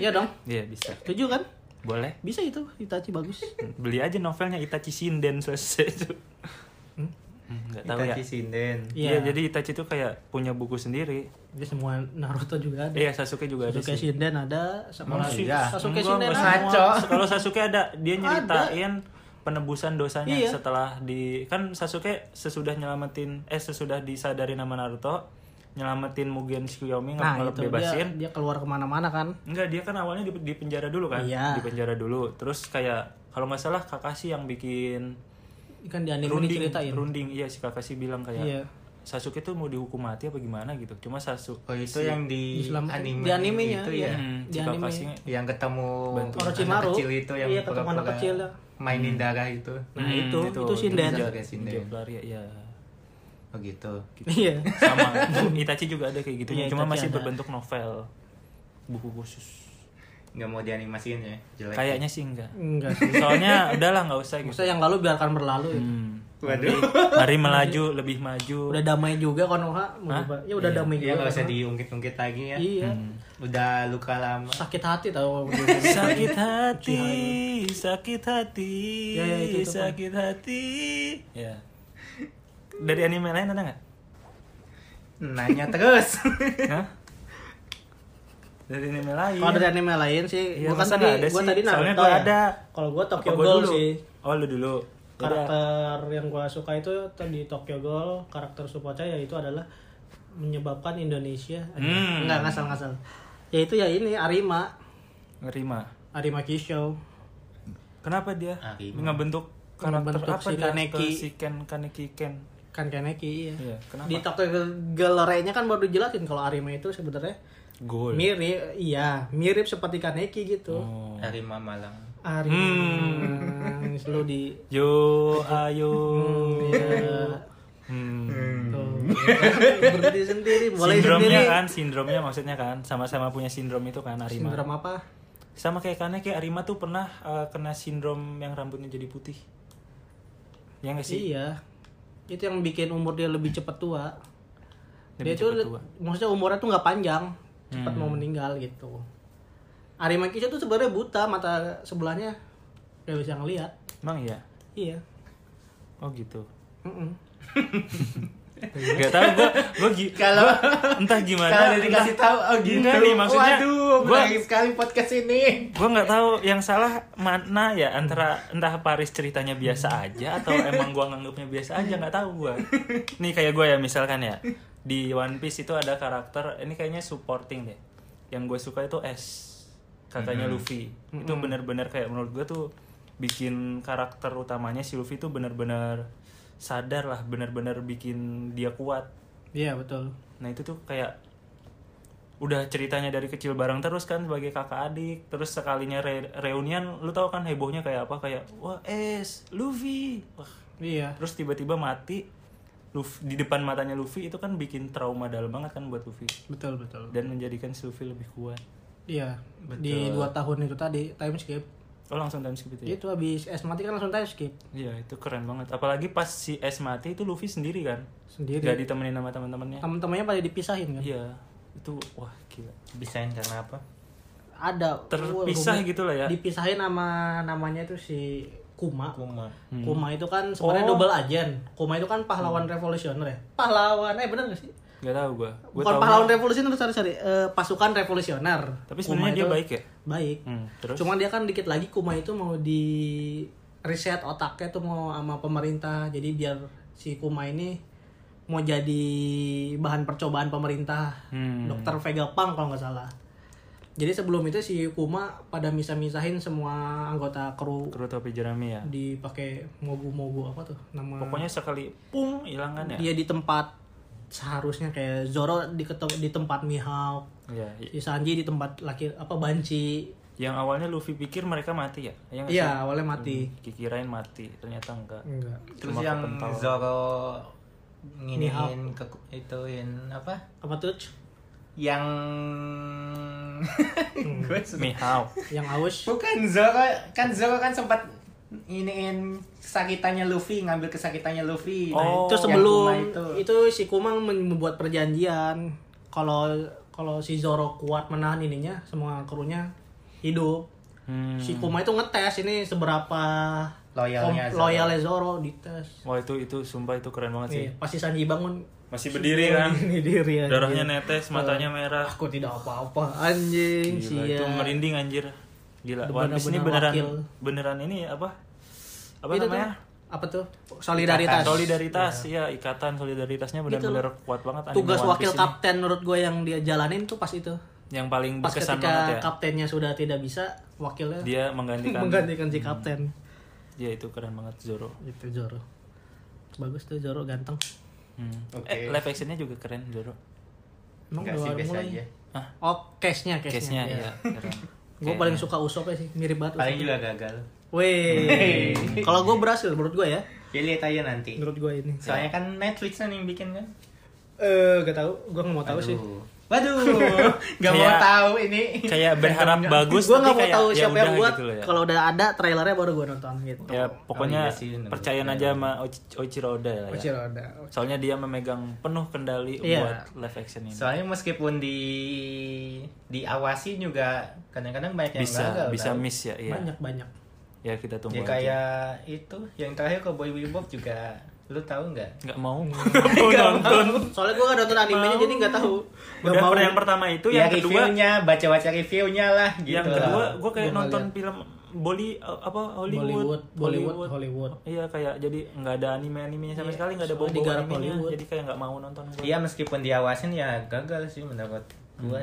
S2: Iya dong.
S1: Iya, bisa.
S2: Setuju kan?
S1: Boleh.
S2: Bisa itu Itachi bagus.
S1: Beli aja novelnya Itachi Shinden selesai itu.
S2: Hmm?
S1: Hmm, Nggak tahu ya.
S3: Itachi Shinden.
S1: Iya,
S2: Iya.
S1: jadi Itachi itu kayak punya buku sendiri.
S2: Jadi semua Naruto juga ada.
S1: Iya, Sasuke juga ada
S2: Sasuke
S1: sih. Nah,
S2: Shinden ada sama
S3: Emang
S2: lagi.
S3: iya?
S2: Sasuke
S1: Enggak,
S2: Shinden
S1: enggak
S2: ada.
S1: semua.
S3: Ngaco.
S1: Kalau Sasuke ada, dia nyeritain penebusan dosanya
S2: Iya.
S1: setelah di kan Sasuke sesudah nyelamatin eh sesudah disadari nama Naruto, nyelamatin Mugen Tsukuyomi nge-
S2: Nah,
S1: ngelep
S2: itu dia,
S1: bebasin.
S2: dia keluar kemana-mana kan.
S1: Enggak, dia kan awalnya di, di penjara dulu kan?
S2: Iya.
S1: Di penjara dulu. Terus kayak kalau nggak salah Kakashi yang bikin
S2: Kan di anime
S1: runding,
S2: diceritain.
S1: runding. Iya, si Kakashi bilang kayak
S2: Iya.
S1: Sasuke tuh mau dihukum mati apa gimana gitu. Cuma Sasuke
S3: Oh itu yang di
S2: Diselamatin.
S3: anime
S2: Di animenya,
S3: itu
S2: iya.
S3: ya.
S1: Hmm, si
S2: Di anime.
S1: Kakashi
S3: Yang ketemu
S1: Bantu. Hmm.
S3: anak
S2: Orochimaru.
S3: kecil itu yang
S2: Iya, ketemu anak
S3: pura-pura
S2: kecil ya.
S3: mainin darah itu.
S2: Nah, itu
S1: gitu.
S2: itu Shinden.
S1: ninja-
S3: Sasuke Shinden.
S1: ninja pelari, ya.
S3: Oh gitu.
S2: Iya.
S1: Sama. Itachi juga ada kayak gitu.
S2: Iya,
S1: Cuma
S2: Itachi
S1: masih
S2: ada.
S1: berbentuk novel. Buku khusus.
S3: Nggak mau dianimasiin ya. Jelek.
S1: Kayaknya sih enggak.
S2: Enggak sih.
S1: Soalnya udahlah nggak usah gitu.
S2: Maksudnya yang lalu biarkan berlalu ya.
S1: Hmm.
S3: Waduh.
S1: Mari melaju, lebih maju.
S2: Udah damai juga Konoha mau
S1: Hah?
S2: diba- Ya udah damai
S3: Iya
S2: juga.
S3: nggak usah
S2: Konoha.
S3: diungkit-ungkit lagi ya.
S2: Iya.
S1: Hmm.
S3: Udah luka lama.
S2: Sakit hati tau.
S1: Sakit hati, sakit hati,
S2: Ya, ya, itu, itu,
S1: sakit hati. Ya. Dari anime lain ada nggak?
S3: Nanya terus.
S1: Hah? Dari anime lain.
S2: Kalau dari anime lain sih,
S1: Iya,
S2: gua kan
S1: masa
S2: tadi
S1: nggak ada
S2: gua
S1: sih?
S2: tadi Naruto.
S1: Soalnya gua
S2: ya.
S1: ada.
S2: Kalau gua Tokyo
S1: Apa gua
S2: Ghoul
S1: dulu?
S2: sih. Iya.
S1: Oh, lu dulu. Udah.
S2: Karakter yang gua suka itu tadi Tokyo Ghoul, karakter supportnya yaitu adalah menyebabkan Indonesia.
S1: Hmm.
S2: Enggak ngasal-ngasal. Yaitu ya ini Arima,
S1: Nerima.
S2: Arima Kisho.
S1: Kenapa dia
S3: Arima.
S1: ngebentuk karakter
S2: Ah, Ngebentuk
S1: apa
S2: si
S1: dia
S2: Kaneki.
S1: ke si Ken Kaneki Ken?
S2: kan Kaneki iya.
S1: Iya, kenapa?
S2: Di Tokyo Gallery-nya kan baru dijelasin kalau Arima itu sebenarnya
S1: Goal.
S2: mirip iya, mirip seperti Kaneki gitu.
S1: Oh.
S3: Arima Malang.
S2: Arima
S1: Hmm.
S2: selalu di
S1: Yo ayo. Hmm.
S2: Gitu. berhenti sendiri, mulai
S1: Sindromnya
S2: sendiri.
S1: kan, sindromnya maksudnya kan, sama-sama punya sindrom itu kan Arima.
S2: Sindrom apa?
S1: Sama kayak Kaneki, Arima tuh pernah eh, kena sindrom yang rambutnya jadi putih. Ya nggak sih?
S2: Iya. Itu yang bikin umur dia lebih cepat tua.
S1: Lebih
S2: dia itu
S1: cepet tua.
S2: maksudnya umurnya tuh nggak panjang, cepat mau meninggal gitu. Arima Kisha tuh sebenarnya buta mata sebelahnya nggak bisa ngelihat.
S1: Emang iya?
S2: Iya.
S1: Oh gitu.
S2: Mm-mm.
S1: Gak tau gue, gue
S3: Kalau
S1: entah gimana.
S3: kalau udah dikasih tahu oh gitu.
S1: Enggak nih, maksudnya
S3: Waduh,
S1: gua-
S3: menarik sekali podcast ini.
S1: gue nggak tahu yang salah mana ya antara entah Paris ceritanya biasa aja atau emang gua nganggapnya biasa aja nggak tahu gua nih kayak gue ya misalkan ya di One Piece itu ada karakter ini kayaknya supporting deh yang gue suka itu S kakaknya Luffy itu bener-bener kayak menurut gue tuh bikin karakter utamanya si Luffy tuh bener-bener sadar lah bener-bener bikin dia kuat
S2: Iya betul.
S1: Nah itu tuh kayak udah ceritanya dari kecil bareng terus kan sebagai kakak adik terus sekalinya re- reunian lu tau kan hebohnya kayak apa kayak wah es Luffy wah
S2: Iya.
S1: terus tiba-tiba mati Luffy, di depan matanya Luffy itu kan bikin trauma dalam banget kan buat Luffy
S2: Betul betul.
S1: dan menjadikan si Luffy lebih kuat
S2: Iya. Di dua tahun itu tadi time skip.
S1: oh langsung time skip itu ya
S2: Itu habis es mati kan langsung time skip
S1: iya itu keren banget apalagi pas si S mati itu Luffy sendiri kan
S2: sendiri.
S1: gak ditemenin sama teman-temannya
S2: Teman-temannya pada dipisahin kan.
S1: iya itu wah gila
S3: Bisain karena apa?
S2: Ada
S1: terpisah gitu lah ya
S2: dipisahin sama namanya itu si Kuma.
S3: Aku mah.
S2: Kuma itu kan sebenarnya
S1: Hmm. Oh.
S2: double agent. Kuma itu kan pahlawan revolusioner ya. Pahlawan, eh bener gak sih?
S1: nggak tahu gua gua
S2: Bukan
S1: taunya-
S2: pahlawan revolusioner, sorry sorry, Eh, pasukan revolusioner.
S1: Tapi sebenarnya
S2: Kuma
S1: dia
S2: itu
S1: baik ya?
S2: Baik.
S1: Hmm, terus?
S2: Cuman dia kan dikit lagi Kuma itu mau di reset otaknya tuh mau sama pemerintah. Jadi biar si Kuma ini mau jadi bahan percobaan pemerintah.
S1: Hmm.
S2: Dokter Vega Pang kalau nggak salah. Jadi sebelum itu si Kuma pada misah-misahin semua anggota kru
S1: Kru topi jerami ya.
S2: dipakai mogu-mogu apa tuh nama
S1: Pokoknya sekali pung hilang kan ya.
S2: dia di tempat seharusnya kayak Zoro di ketem- di tempat Mihawk
S1: Iya. i-
S2: si Sanji di tempat laki apa Banci
S1: Yang awalnya Luffy pikir mereka mati ya. Yang
S2: iya Hmm. awalnya mati
S1: kirain mati, ternyata Hmm. enggak.
S2: enggak
S3: Terus
S1: Cuma
S3: yang
S1: kepental.
S3: Zoro nginiin ke ituin apa?
S2: apa tuh
S3: Yang gue suka.
S1: Mihawk.
S2: yang aus
S3: Bukan Zoro kan Zoro kan sempat iniin kesakitannya Luffy ngambil kesakitannya Luffy. Nah,
S1: Oh.
S2: itu
S3: yang
S2: sebelum
S3: Kuma
S2: itu. si Kuma men- membuat perjanjian kalau kalau si Zoro kuat menahan ininya semua krunya hidup
S1: Hmm.
S2: si Kuma itu ngetes ini seberapa
S3: Loyalnya
S1: Oh,
S2: kom-
S3: Zoro.
S2: loyalnya Zoro dites
S1: Wah itu itu sumpah itu keren banget sih.
S2: Iya, pasti Sanji bangun
S1: Masih berdiri kan.
S2: ini diri anjing.
S1: Darahnya netes, matanya merah.
S2: aku tidak apa-apa anjing
S1: Gila, itu
S2: sia
S1: merinding anjir. Gila. One
S2: Bener-bener
S1: Piece ini beneran
S2: iya. wakil.
S1: beneran ini apa? Apa
S2: Itu
S1: namanya?
S2: tuh, apa tuh solidaritas
S1: Solidaritas, iya ikatan solidaritas solidaritasnya benar-benar kuat banget. anime
S2: Gitu tugas
S1: One
S2: wakil
S1: Piece ini.
S2: kapten menurut gue yang dia jalanin tuh pas itu
S1: yang paling
S2: pas
S1: berkesan
S2: ketika
S1: banget ya.
S2: kaptennya sudah tidak bisa wakilnya
S1: Dia kan. Hmm. menggantikan
S2: menggantikan si kapten
S1: Ya itu keren banget Zoro.
S2: gitu Zoro bagus tuh Zoro ganteng
S3: Oke.
S1: Eh, live actionnya juga keren Zoro.
S2: emang
S3: Enggak sih
S2: udah
S3: biasa
S2: mulai
S3: aja.
S1: Ah,
S2: oh case-nya
S1: case-nya
S2: case-nya
S1: ya keren.
S2: gue paling suka Usopp sih mirip banget
S3: Paling
S2: Usopp.
S3: juga gagal.
S2: Weh, kalau gue berhasil menurut gue ya,
S3: Ya lihat aja nanti.
S2: menurut gue ini.
S3: Soalnya kan Netflix kan yang bikin kan.
S2: Eh, gak tau, gue gak mau tahu sih.
S3: Aduh. Waduh, nggak mau
S1: Kayak-
S3: tahu ini.
S1: Kayak berharap bagus
S2: gue
S1: tapi
S2: nggak mau
S1: kayak
S2: tahu
S1: ya
S2: siapa yang
S1: udah
S2: buat
S1: gitu loh ya.
S2: kalau udah ada trailernya baru gue nonton gitu
S1: Ya pokoknya
S3: iya sih, bener.
S1: percayaan aja sama Oichi- Oichiro Oda ya.
S2: Oichiro Oda.
S1: Soalnya dia memegang penuh kendali
S2: Iya.
S1: buat live action ini.
S3: Soalnya meskipun di diawasi juga kadang-kadang banyak yang
S1: Bisa
S3: gagal.
S1: bisa
S3: tau.
S1: miss ya, iya.
S2: banyak banyak
S1: Ya kita tunggu
S3: Ya
S1: aja.
S3: kayak itu yang terakhir ke Boy Bebop juga lu tahu nggak?
S1: Nggak mau. mau nonton.
S2: soalnya gue gak nonton animenya jadi nggak tahu
S1: Udah
S2: Nggak
S1: pernah yang pertama itu,
S3: ya
S1: yang kedua
S3: reviewnya, baca-baca reviewnya lah gitu.
S1: yang
S3: lah.
S1: kedua gue kayak
S2: Gua nggak
S1: nonton film Bolly apa
S2: Bollywood
S1: Hollywood
S2: Bollywood Hollywood
S1: Iya kayak jadi nggak ada anime animenya sama sekali nggak ada
S2: soalnya
S1: bau bau
S2: digarap
S1: animenya
S2: Hollywood.
S1: jadi kayak nggak mau nonton gua.
S3: Iya meskipun diawasin ya gagal sih menurut gua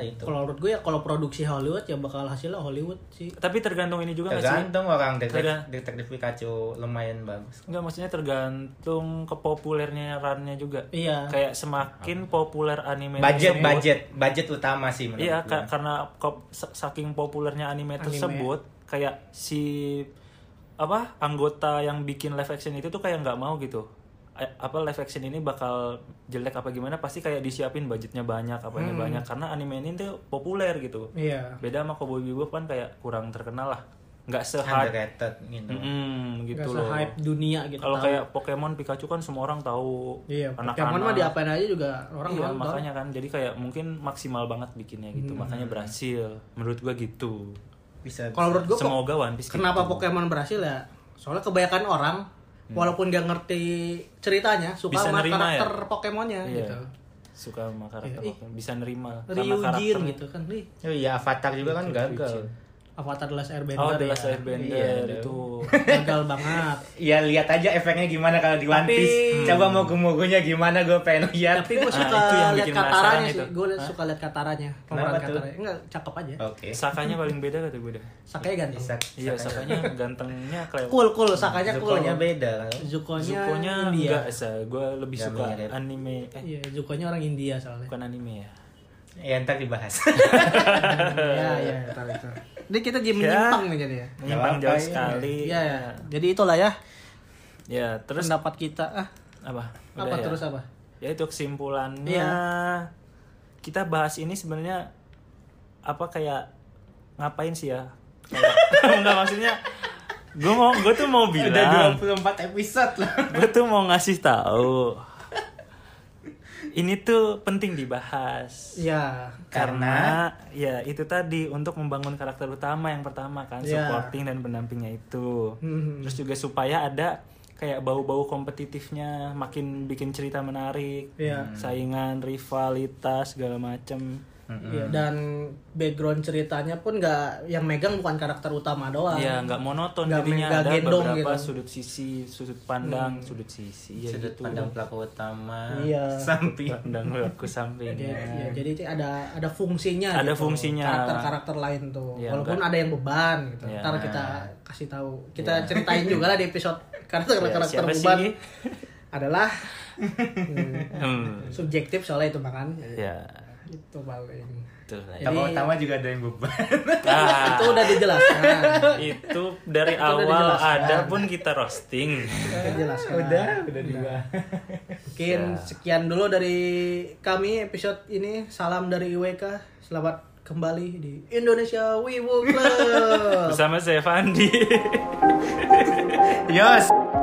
S1: Hmm.
S3: itu
S2: Kalau menurut gue ya kalau produksi Hollywood ya bakal hasilnya Hollywood sih.
S1: Tapi tergantung ini juga nggak sih?
S3: tergantung orang
S1: Tergan-
S3: detektif, detektif Pikachu lumayan bagus
S1: Enggak, maksudnya tergantung kepopulernya rannya juga.
S2: Iya.
S1: Kayak semakin populer anime
S3: Ah. budget
S1: tersebut-
S3: budget budget utama sih menurut
S1: Iya,
S3: gua.
S1: ka- karena ko- sa- saking populernya anime, tersebut, kayak si apa anggota yang bikin live action itu tuh kayak nggak mau gitu. A- apa live action ini bakal jelek apa gimana? Pasti kayak disiapin budgetnya banyak, apanya
S2: Hmm.
S1: banyak karena anime ini tuh populer gitu.
S2: Iya.
S1: Beda sama Cowboy Bebop kan kayak kurang terkenal lah, nggak se-hype.
S3: underrated gitu
S1: Mm-mm,
S2: Gak
S1: gitu loh.
S2: se-hype dunia gitu.
S1: Kalau
S2: tahu.
S1: kayak Pokemon Pikachu kan semua orang tahu.
S2: iya,
S1: anak-anak.
S2: Pokemon mah diapain aja juga orang
S1: Iya,
S2: nonton.
S1: makanya kan jadi kayak mungkin maksimal banget bikinnya gitu
S3: Hmm.
S1: makanya berhasil menurut gua gitu
S3: bisa
S2: Kalau menurut gue
S1: semoga One Piece
S2: kenapa
S1: gitu.
S2: Pokemon berhasil ya? Soalnya kebanyakan orang walaupun gak ngerti ceritanya suka
S1: Hmm. Bisa
S2: sama
S1: nerima
S2: karakter
S1: ya?
S2: Pokemonnya
S1: Iya.
S2: gitu.
S1: suka sama karakter
S2: Iya.
S1: Pokemon. bisa nerima
S2: Ryujin
S1: karakternya-
S2: gitu kan nih.
S3: oh iya Avatar juga kan gagal
S2: Avatar The Last Airbender
S1: Oh, The
S2: ya.
S1: Last Airbender
S3: Iya,
S1: itu.
S2: Gagal banget.
S3: Ya lihat aja efeknya gimana kalau di One
S2: Tapi-
S3: Piece. Coba
S1: Hmm.
S3: mau mogonya gimana gue pengen lihat.
S2: Tapi
S1: Ah,
S2: gue suka
S1: itu yang
S2: lihat
S1: bikin
S2: kataranya
S1: penasaran
S2: sih.
S1: itu.
S2: Gue suka lihat kataranya. Pemeran
S3: Kenapa tuh?
S2: kataranya. Enggak, cakep aja.
S1: Oh.
S3: Oke.
S1: Sakanya paling beda kata gue dah.
S2: Sakanya ganteng.
S3: Sak-
S1: Iya,
S3: sakanya.
S1: Sakanya gantengnya kayak
S2: Cool, cool. Sakanya cool. ya,
S3: Zukonya beda.
S2: Zukonya,
S1: Zukonya
S2: India.
S1: enggak Sa. Gua lebih
S3: Nggak
S1: suka
S3: mirip.
S1: anime eh
S2: Iya, Zukonya orang India soalnya.
S1: bukan anime ya.
S3: Ya ntar dibahas.
S2: Iya, iya, tahu itu. Jadi kita
S1: Ya.
S2: jadi menyimpang nih jadi ya.
S1: Menyimpang
S3: apa-apa,
S1: jauh
S3: iya.
S1: sekali.
S2: Iya, ya. Jadi itulah ya
S1: Ya, terus
S2: pendapat kita. Ah,
S1: apa?
S2: apa
S1: Udah ya?
S2: terus apa?
S1: ya itu kesimpulannya
S2: Iya.
S1: kita bahas ini sebenarnya apa kayak ngapain sih ya Kayak- nggak maksudnya gue mau gue tuh mau bilang
S3: 24 episode lah.
S1: gue tuh mau ngasih tahu ini tuh penting dibahas
S2: Iya.
S1: karena ya itu tadi untuk membangun karakter utama yang pertama kan
S2: Iya.
S1: supporting dan pendampingnya itu
S2: Hmm.
S1: terus juga supaya ada kayak bau-bau kompetitifnya makin bikin cerita menarik
S2: Iya.
S1: saingan rivalitas segala macem
S2: Iya, dan background ceritanya pun nggak yang megang bukan karakter utama doang.
S1: ya nggak monoton
S2: Ah. Nggak
S1: jadinya
S2: mega
S1: ada
S2: gendong
S1: beberapa
S2: gitu.
S1: sudut sisi sudut pandang sudut sisi ya
S3: Sudut
S1: gitu
S3: pandang pelaku utama.
S2: Iya.
S3: Samping.
S1: pandang aku
S2: Ya,
S1: sampingnya
S2: ya, jadi itu ada ada fungsinya
S1: Ada
S2: gitu,
S1: fungsinya.
S2: karakter-karakter lain tuh
S1: Ya,
S2: walaupun ada yang beban gitu
S1: Ya.
S2: ntar kita kasih tahu kita ceritain juga lah di episode karakter-karakter
S1: Iya. siapa
S2: beban
S1: sih?
S2: adalah hmm,
S1: Hmm.
S2: subjektif soalnya itu makan
S1: ya
S2: itu paling
S1: itu lah ya.
S3: Tokoh utama juga ada yang beban.
S1: Ah,
S2: itu udah dijelaskan
S1: itu Ah. dari
S2: udah
S1: awal
S2: dijelaskan.
S1: ada pun kita roasting
S2: udah dijelaskan
S3: udah, Nah, udah dibahas.
S2: mungkin sekian dulu dari kami episode ini salam dari IWK selamat kembali di Indonesia Wibu Club
S1: bersama saya Fandi
S3: Yos.